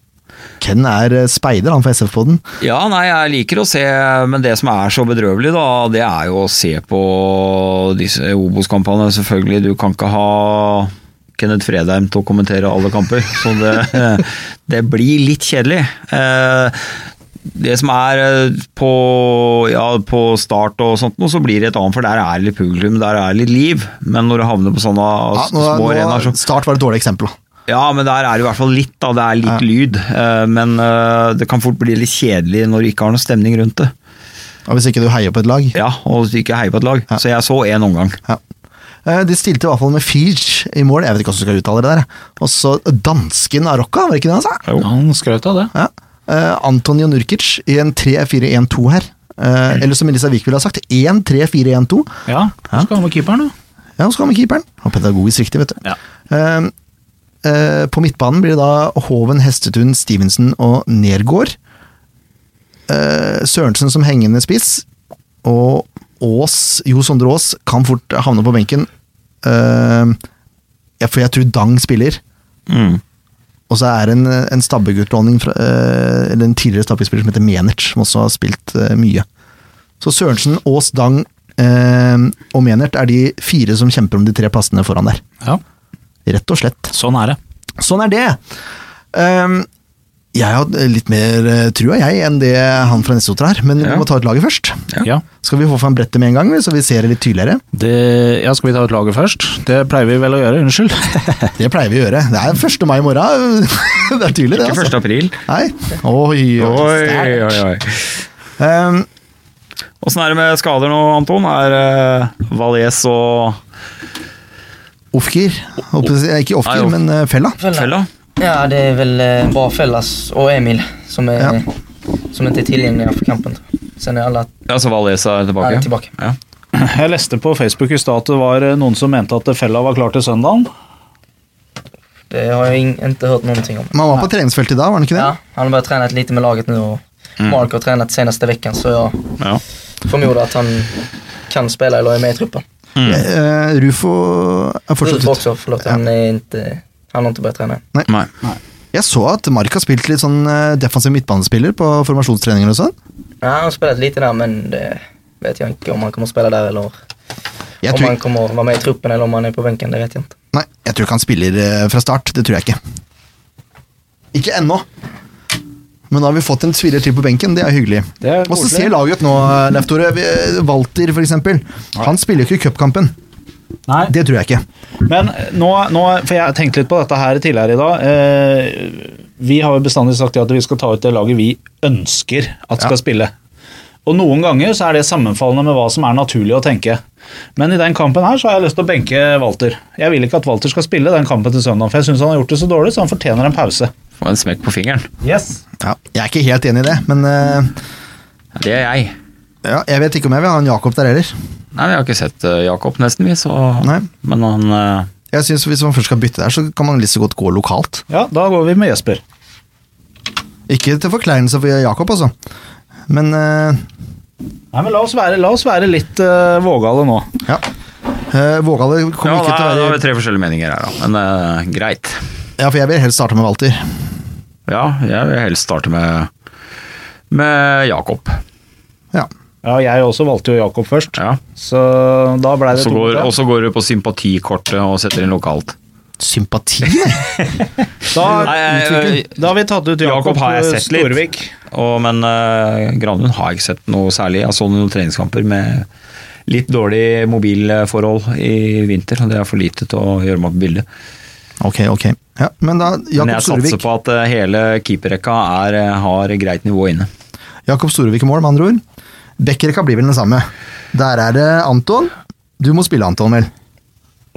Speaker 1: Ken er eh, speider, han for SF-poden.
Speaker 5: Ja, nei, jeg liker å se, men det som er så bedrøvelig, da, det er jo å se på disse Obos-kampene, selvfølgelig. Du kan ikke ha Kenneth Fredheim til å kommentere alle kamper, så det, [LAUGHS] det blir litt kjedelig. Eh, Det som er eh, på, ja, på start og sånt, nå, så blir det et annet, for der er det litt publikum, der er det litt liv. Men når du havner på sånne
Speaker 1: Ja, nå,
Speaker 5: små arenaer,
Speaker 1: nå,
Speaker 5: så
Speaker 1: start var et dårlig eksempel. da.
Speaker 5: ja, men der er det i hvert fall litt, da. Det er litt lyd. eh, Men eh, det kan fort bli litt kjedelig når du ikke har noe stemning rundt det.
Speaker 1: Og Hvis ikke du heier på et lag.
Speaker 5: Ja, og hvis du ikke heier på et lag. Så jeg så én omgang.
Speaker 1: Ja. Eh, De stilte i hvert fall med Fij i mål, jeg vet ikke hvordan du skal uttale det der. Og så dansken Arocca, var det ikke det han sa?
Speaker 4: Han skrøt av det.
Speaker 1: Ja. Eh, Antonio Nurkic i en 3-4-1-2 her. Eh, Eller som Elisa Wiik ville ha sagt, 1-3-4-1-2.
Speaker 4: Ja, så skal han med keeperen, da.
Speaker 1: Ja, og så kommer keeperen. Og pedagogisk riktig, vet du.
Speaker 4: Ja.
Speaker 1: Eh, eh, På midtbanen blir det da Hoven, Hestetun, Stevenson og Nergård. Eh, Sørensen som hengende spiss. Og Aas, Jo Sondre Aas, kan fort havne på benken. Eh, ja, for jeg tror Dang spiller. Og så er det en, en stabbegutlåning fra eh, Eller en tidligere stabbespiller som heter Menert, som også har spilt eh, mye. Så Sørensen, Aas, Dang eh, og Menert er de fire som kjemper om de tre plassene foran der.
Speaker 4: Ja,
Speaker 1: Rett og slett.
Speaker 4: sånn er det.
Speaker 1: Sånn er det! Ehm, jeg har litt mer eh, trua, jeg, enn det han fra Nessotra har, men vi
Speaker 5: Ja.
Speaker 1: må ta ut laget først.
Speaker 4: Ja.
Speaker 1: Skal vi få fram brettet med en gang, så vi ser det litt tydeligere?
Speaker 4: Det, ja, skal vi ta ut laget først? Det pleier vi vel å gjøre, unnskyld.
Speaker 1: Det pleier vi å gjøre. Det er 1. mai i morgen. [LAUGHS] det er tydelig, det. altså.
Speaker 5: Ikke 1. april.
Speaker 1: Nei. Oi, oi, sterkt.
Speaker 5: oi.
Speaker 1: Ehm,
Speaker 5: Åssen er det med skader nå, Anton? Er eh, Valais og
Speaker 1: Ofker. Håper jeg- Ikke
Speaker 5: Nei,
Speaker 1: Ofker,
Speaker 5: Ofker.
Speaker 1: men eh, Fella.
Speaker 5: Fella?
Speaker 6: Ja, det er vel eh, bare Fellas og Emil som, er,
Speaker 1: Ja.
Speaker 6: som ikke er tilgjengelige for kampen. Sen er alle
Speaker 5: Ja, så Valais er tilbake?
Speaker 6: er tilbake.
Speaker 5: Ja.
Speaker 4: [LAUGHS] Jeg leste på Facebook i stad at det var eh, noen som mente at fella var klar til søndagen.
Speaker 6: Det har jeg ing- ikke hørt någonting om.
Speaker 1: Man var på treningsfeltet i dag, var han ikke det?
Speaker 6: Ja, han har börjat träna lite med laget nu och Mark har tränat senaste veckan så jag
Speaker 5: Ja.
Speaker 6: förmodar att han kan spela eller är med i truppen.
Speaker 1: Eh, Rufo er fortsatt
Speaker 6: Ulf
Speaker 1: ute.
Speaker 6: också, förlåt, han, är inte, han har inte börjat träna än.
Speaker 5: Nei.
Speaker 1: Jeg så at Mark har spilt litt sånn eh, defensiv midtbanespiller på formasjonstreninger og sånn.
Speaker 6: Ja, han har spelat lite där men det vet jag inte om han kommer spela där eller
Speaker 1: Jeg
Speaker 6: om
Speaker 1: tror,
Speaker 6: han kommer vara med i truppen eller om han är på bänken, det vet jag inte.
Speaker 1: nei, jeg tror ikke han spiller eh, fra start. Det tror jeg ikke. Ikke ennå. Men da har vi fått en spiller til på benken, det er hyggelig.
Speaker 4: Det er
Speaker 1: Og så
Speaker 4: koselig.
Speaker 1: ser laget ut nå, Leif Tore. Vi- eh, Walter, for eksempel. Han spiller jo ikke i cupkampen.
Speaker 4: Nei.
Speaker 1: Det tror jeg ikke.
Speaker 4: Men nå, nå, for jeg tenkte litt på dette her tidligere i dag. Eh, vi har jo bestandig sagt at vi skal ta ut det laget vi ønsker at skal spille. Og noen ganger så er det sammenfallende med hva som er naturlig å tenke. Men i den kampen her så har jeg lyst til å benke Walter. Jeg vil ikke at Walter skal spille den kampen til søndag, for jeg syns han har gjort det så dårlig, så han fortjener en pause.
Speaker 5: Få en smekk på fingeren.
Speaker 4: Yes.
Speaker 1: Ja, jeg er ikke helt enig i det, men eh,
Speaker 5: Det er jeg.
Speaker 1: ja, jeg vet ikke om jeg vil ha en Jakob der heller.
Speaker 5: Nei, men Jeg har ikke sett eh, Jakob nesten, vi, så
Speaker 1: Nei.
Speaker 5: Men han eh,
Speaker 1: Jeg synes Hvis man først skal bytte der, så kan man litt så godt gå lokalt.
Speaker 4: Ja, da går vi med Jesper.
Speaker 1: Ikke til forkleinelse for Jakob, altså. Men eh,
Speaker 4: Nei, men La oss være, la oss være litt eh, vågale nå.
Speaker 1: Ja. Eh, Vågale
Speaker 5: Ja,
Speaker 1: kommer
Speaker 5: da,
Speaker 1: ikke til å
Speaker 5: da har vi
Speaker 1: være
Speaker 5: tre forskjellige meninger her, da. Men eh, greit.
Speaker 1: Ja, for jeg vil helst starte med Walter.
Speaker 5: Ja, jeg vil helst starte med, med Jakob.
Speaker 1: Ja.
Speaker 4: Ja, Jeg også valgte jo Jakob først,
Speaker 5: Ja.
Speaker 4: så da blei det
Speaker 5: Så
Speaker 4: to mot
Speaker 5: går,
Speaker 4: en.
Speaker 5: og så går du på sympatikortet og setter inn lokalt.
Speaker 1: Sympati? nei.
Speaker 4: Da,
Speaker 5: Nei, jeg-
Speaker 4: da har vi tatt ut Jakob,
Speaker 5: Jakob har jeg sett litt.
Speaker 4: Storvik.
Speaker 5: Og, men eh, Granlund har jeg ikke sett noe særlig. Jeg så noen treningskamper med litt dårlig mobilforhold i vinter, og det er for lite til å gjøre meg på bildet.
Speaker 1: [LAUGHS] ok, ok. Ja, men da,
Speaker 5: Men
Speaker 1: Jakob
Speaker 5: jeg satser
Speaker 1: Storevik
Speaker 5: på at eh, hele keeperrekka er, eh, har greit nivå inne.
Speaker 1: Jakob Storevik i mål, med andre ord. Bekkerekka blir vel den samme. Der er det Anton. Du må spille Anton, vel?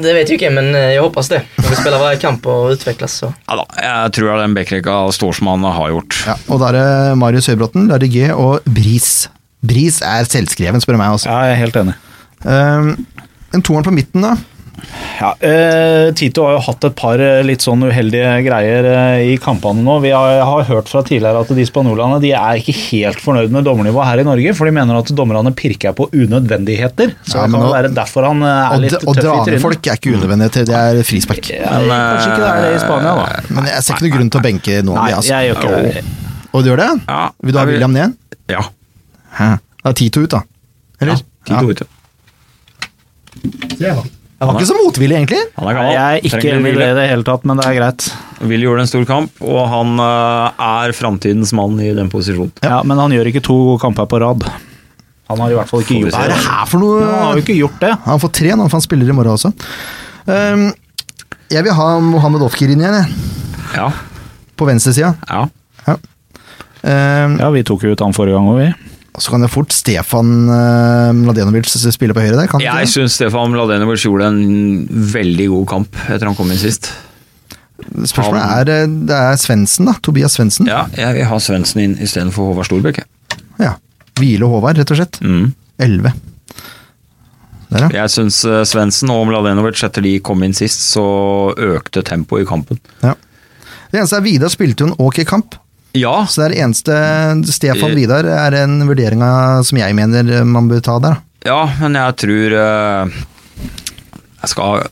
Speaker 6: Det vet jag inte men eh, jag hoppas det. När vi spelar varje kamp och utvecklas så.
Speaker 5: Ja da, jeg tror den backrekka står som han har gjort.
Speaker 1: Ja, og da er det Marius Høybråten, Larry G og Bris. Bris er selvskreven, spør du meg. altså.
Speaker 4: Ja, jeg er helt enig.
Speaker 1: Ehm, en toeren på midten, da.
Speaker 4: Ja, eh, Tito har jo hatt et par eh, litt sånn uheldige greier eh, i kampene nå. Vi har, jeg har hørt fra tidligere at de spanjolene de er ikke helt fornøyd med dommernivået her i Norge, for de mener at dommerne pirker på unødvendigheter. Så
Speaker 1: Ja,
Speaker 4: det
Speaker 1: men
Speaker 4: kan
Speaker 1: nå-
Speaker 4: jo være derfor han eh,
Speaker 1: Å
Speaker 4: er litt
Speaker 1: d- Å
Speaker 4: tøff i
Speaker 1: dra ned
Speaker 4: trynet.
Speaker 1: folk er ikke unødvendig til, det er frispark.
Speaker 4: Ja, kanskje ikke det er
Speaker 5: eh,
Speaker 4: det i Spania, da.
Speaker 1: Men jeg ser ikke noen grunn til å benke noen av
Speaker 4: Nei,
Speaker 1: de. Altså.
Speaker 4: jeg gjør ikke det.
Speaker 1: Og du gjør det?
Speaker 5: Ja,
Speaker 1: Vil du ha
Speaker 5: jeg vil-
Speaker 1: William ned?
Speaker 5: Ja.
Speaker 1: Hæ? Da er Tito ut, da. Eller?
Speaker 5: Tito ute.
Speaker 1: Han var ikke så motvillig, egentlig.
Speaker 5: Han er
Speaker 4: Nei,
Speaker 5: gammel.
Speaker 4: Jeg er ikke
Speaker 5: trenger
Speaker 4: enig
Speaker 5: litt
Speaker 4: i det i
Speaker 5: hvile.
Speaker 4: det hele tatt, men det er greit.
Speaker 5: Willy gjorde en stor kamp, og han eh, er framtidens mann i den posisjonen.
Speaker 4: Ja, Men han gjør ikke to kamper på rad. Han har i hvert fall ikke
Speaker 5: Får vi
Speaker 4: gjort
Speaker 1: Hva
Speaker 5: se.
Speaker 1: er
Speaker 4: det.
Speaker 1: det her for noe?
Speaker 4: Men Han har jo ikke gjort det.
Speaker 1: Han får tre nå, for han spiller i morgen også. Ehm, jeg vil ha Mohammed Ofkir inn igjen, jeg.
Speaker 5: Ja,
Speaker 1: På venstresida.
Speaker 5: ja.
Speaker 1: Um,
Speaker 4: Ja, vi tok jo ut han forrige gang òg, vi.
Speaker 1: Så kan jeg fort Stefan uh, Mladenovic spille på høyre der. Kan han
Speaker 5: Jeg
Speaker 1: ikke det?
Speaker 5: syns Stefan Mladenovic gjorde en veldig god kamp etter han kom inn sist.
Speaker 1: Spørsmålet er eh, Det er Svendsen, da. Tobias Svendsen.
Speaker 5: Ja, jeg vil ha Svendsen inn istedenfor Håvard Storbekk. jeg.
Speaker 1: Ja. Hvile Håvard, rett og slett.
Speaker 5: Mm.
Speaker 1: Elleve. Der, ja.
Speaker 5: Jeg syns Svendsen og Mladenovic etter de kom inn sist, så økte tempoet i kampen.
Speaker 1: ja. Det eneste er Vidar spilte jo en ok kamp.
Speaker 5: Ja,
Speaker 1: Så det er det eneste Stefan
Speaker 5: Eh.
Speaker 1: Vidar er en vurdering av, som jeg mener eh, man bør ta der. da.
Speaker 5: ja men jeg tror eh, jeg skal,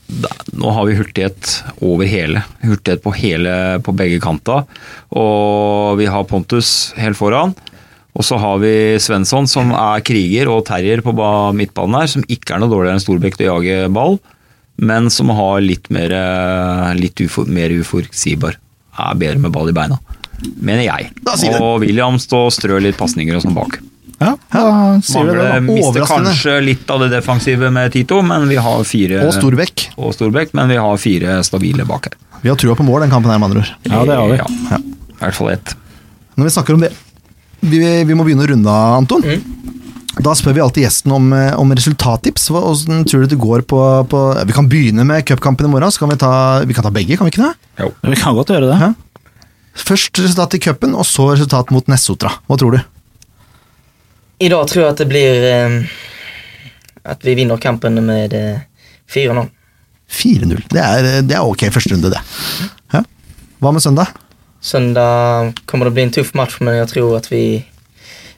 Speaker 5: Nå har vi hurtighet over hele. Hurtighet på hele på begge kanta. Og vi har Pontus helt foran. Og så har vi Svensson, som er kriger og terrier på ba- midtbanen her, som ikke er noe dårligere enn Storbekk til å jage ball, men som har litt mer, eh, litt ufor, mer uforutsigbar. Er bedre med ball i beina, mener jeg.
Speaker 1: Da sier vi det.
Speaker 5: Og William står og strør litt pasninger og sånn bak.
Speaker 4: Ja, da sier vi det, da.
Speaker 5: Mangler, mister
Speaker 1: Overraskende.
Speaker 5: kanskje litt av det defensive med Tito, men vi har fire
Speaker 1: Og Storbekk.
Speaker 5: og Storbekk, men vi har fire stabile bak her.
Speaker 1: Vi har trua på mål, den kampen her, med andre ord.
Speaker 4: Ja, det har vi.
Speaker 5: Ja. I hvert fall ett. Mm.
Speaker 1: Når vi snakker om det Vi, vi må begynne å runde av, Anton. Da spør vi alltid gjesten om, eh, om resultattips. Hva- Hvordan tror du det går på, på Vi kan begynne med cupkampen i morgen, så kan vi ta, vi kan ta begge, kan vi ikke det?
Speaker 4: Vi kan godt gjøre det.
Speaker 1: Ja. Først resultat i cupen, og så resultat mot Nessotra. Hva tror du?
Speaker 6: I dag tror jeg at det blir eh, At vi vinner kampen med eh, 4-0.
Speaker 1: 4-0. Det, er- det er ok første runde, det. Ja. Hva med søndag?
Speaker 6: Søndag kommer det bli en tuff match, men jeg tror at vi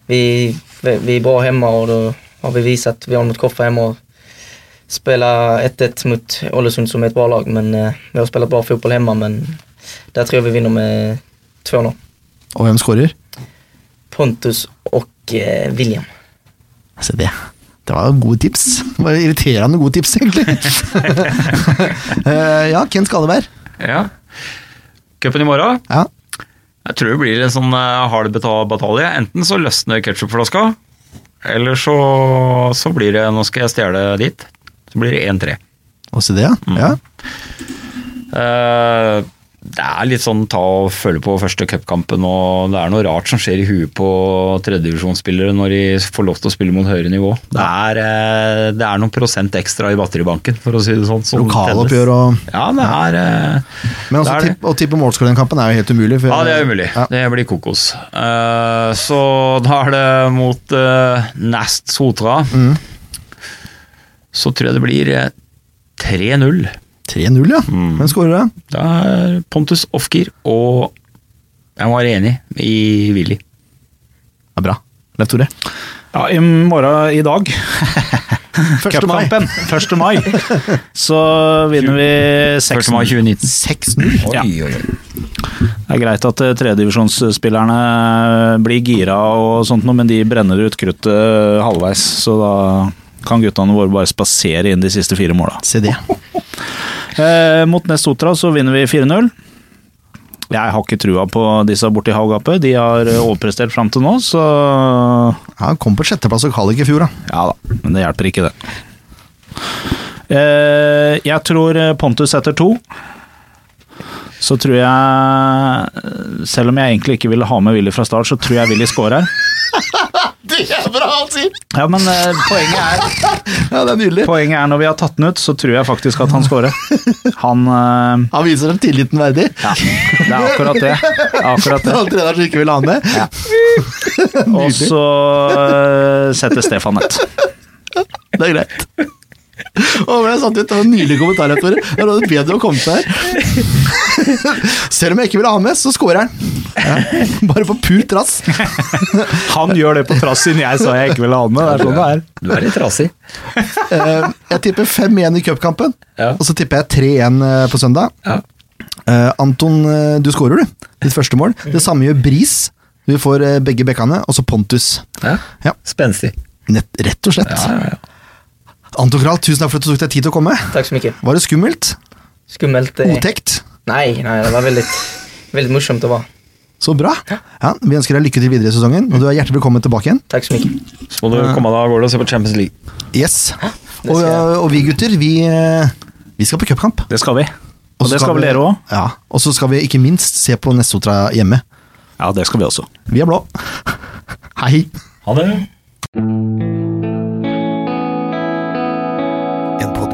Speaker 6: Vi, vi är bra hemma och då har vi visat, vi har mot Koffa hemma och spela 1-1 mot Ålesund som är ett bra lag. Men eh, vi har spelat bra fotboll hemma, men där tror jag vi vinner med 2-0.
Speaker 1: Og hvem skårer?
Speaker 6: Pontus och eh, William.
Speaker 1: Se Altså, det. Det var gode tips. Det var Irriterende gode tips, egentlig. Eh, ja, Ken Skalleberg.
Speaker 5: Ja. Cupen i morgen?
Speaker 1: Ja.
Speaker 5: Jeg tror det blir en sånn eh, hard beta- batalje. Enten så løsner ketsjupflaska, eller så, så blir det Nå skal jeg stjele dit. Så blir det 1-3.
Speaker 1: Og se det, ja. ja.
Speaker 5: Eh, det er litt sånn ta og føle på første cupkampen, og det er noe rart som skjer i huet på tredjedivisjonsspillere når de får lov til å spille mot høyere nivå. Det er, eh, det er noen prosent ekstra i batteribanken, for å si det sånn. som
Speaker 1: Lokaloppgjør
Speaker 5: tennes.
Speaker 1: og
Speaker 5: Ja, det er eh,
Speaker 1: Men også
Speaker 5: Det er det.
Speaker 1: tipp, å tippe målskårer i den kampen er jo helt umulig. for-
Speaker 5: Ja, det er umulig.
Speaker 1: Ja.
Speaker 5: Det blir kokos. Eh, så da er det mot eh, Nast Sotra.
Speaker 1: Mm.
Speaker 5: Så tror jeg det blir eh, 3-0.
Speaker 1: 3-0, ja. Hvem skårer da?
Speaker 5: Det er Pontus Ofker og jeg var enig i Willy.
Speaker 1: Ja, bra. Leif Tore.
Speaker 4: Ja, I morgen i [LAUGHS] dag.
Speaker 1: Første mai.
Speaker 4: Cupkampen. 1. mai. Så vinner vi
Speaker 5: 1.
Speaker 4: 6
Speaker 5: mai 2019.
Speaker 1: 6-0.
Speaker 5: Oi,
Speaker 4: Ja.
Speaker 5: oi, oi.
Speaker 4: Det er greit at eh, tredjedivisjonsspillerne eh, blir gira og sånt noe, men de brenner ut kruttet eh, halvveis, så da kan guttene våre bare spasere inn de siste fire måla.
Speaker 1: Se det.
Speaker 4: Eh, mot Nestotra så vinner vi 4-0. Jeg har ikke trua på disse borti havgapet. De har eh, overprestert fram til nå, så
Speaker 1: Ja, han kom på sjetteplass og Kallik i fjor, da. [LAUGHS]
Speaker 4: Ja da, men det hjelper ikke, det. Eh, jeg tror eh, Pontus setter to. Så tror jeg eh, Selv om jeg egentlig ikke ville ha med Willy fra start, så tror jeg Willy [LAUGHS] scorer. det er bra, han sier! Ja, men eh, poenget, er,
Speaker 1: Ja, det er nydelig.
Speaker 4: poenget er når vi har tatt den ut, så tror jeg faktisk at han scorer. Han eh,
Speaker 1: Han viser dem tilliten verdig. [LAUGHS]
Speaker 4: Ja, det er akkurat det. Det er Akkurat
Speaker 1: Det er
Speaker 4: det.
Speaker 1: han treneren som ikke vil ha han med.
Speaker 4: Og så eh, setter Stefan et.
Speaker 1: Det er greit. Å, ble jeg satt ut? Det var en nydelig kommentar, Leif Tore. Det er noe bedre å komme seg her. Selv om jeg ikke vil ha han med, så scorer han. Ja. Bare på purt rass.
Speaker 4: Han gjør det på trass siden jeg sa jeg ikke ville ha med. Det er sånn det er.
Speaker 5: Du er litt trasig.
Speaker 1: Eh, Jeg tipper 5-1 i cupkampen,
Speaker 5: Ja.
Speaker 1: og så tipper jeg 3-1 eh, på søndag.
Speaker 5: Ja.
Speaker 1: Eh, Anton, eh, du scorer, du. Ditt første mål. Det samme gjør Bris. Vi får eh, begge bekkene, og så Pontus.
Speaker 5: Ja.
Speaker 1: Ja.
Speaker 5: Spenstig.
Speaker 1: Nett, rett og slett. Anton Kral, tusen takk for at du tok deg tid til å komme.
Speaker 6: Tack så mycket.
Speaker 1: Var det skummelt?
Speaker 6: Skummelt. eh,
Speaker 1: Otäckt?
Speaker 6: Nej, nej, det var väldigt, väldigt morsomt att vara.
Speaker 1: Så bra. Ja, vi ønsker deg lykke til videre i sesongen, og du er hjertelig velkommen tilbake igjen.
Speaker 6: Tack så mycket.
Speaker 5: Så må du komme deg av gårde og se på Champions League.
Speaker 1: Yes.
Speaker 6: Det
Speaker 1: Og,
Speaker 6: skal jeg.
Speaker 1: og vi gutter, vi, eh, vi skal på cupkamp.
Speaker 4: Det skal vi. Og det skal vel dere òg?
Speaker 1: Ja. Og så skal vi ikke minst se på Nessotra hjemme.
Speaker 4: Ja, det skal vi også.
Speaker 1: Vi er blå. [LAUGHS] Hei.
Speaker 5: Ha det.
Speaker 2: En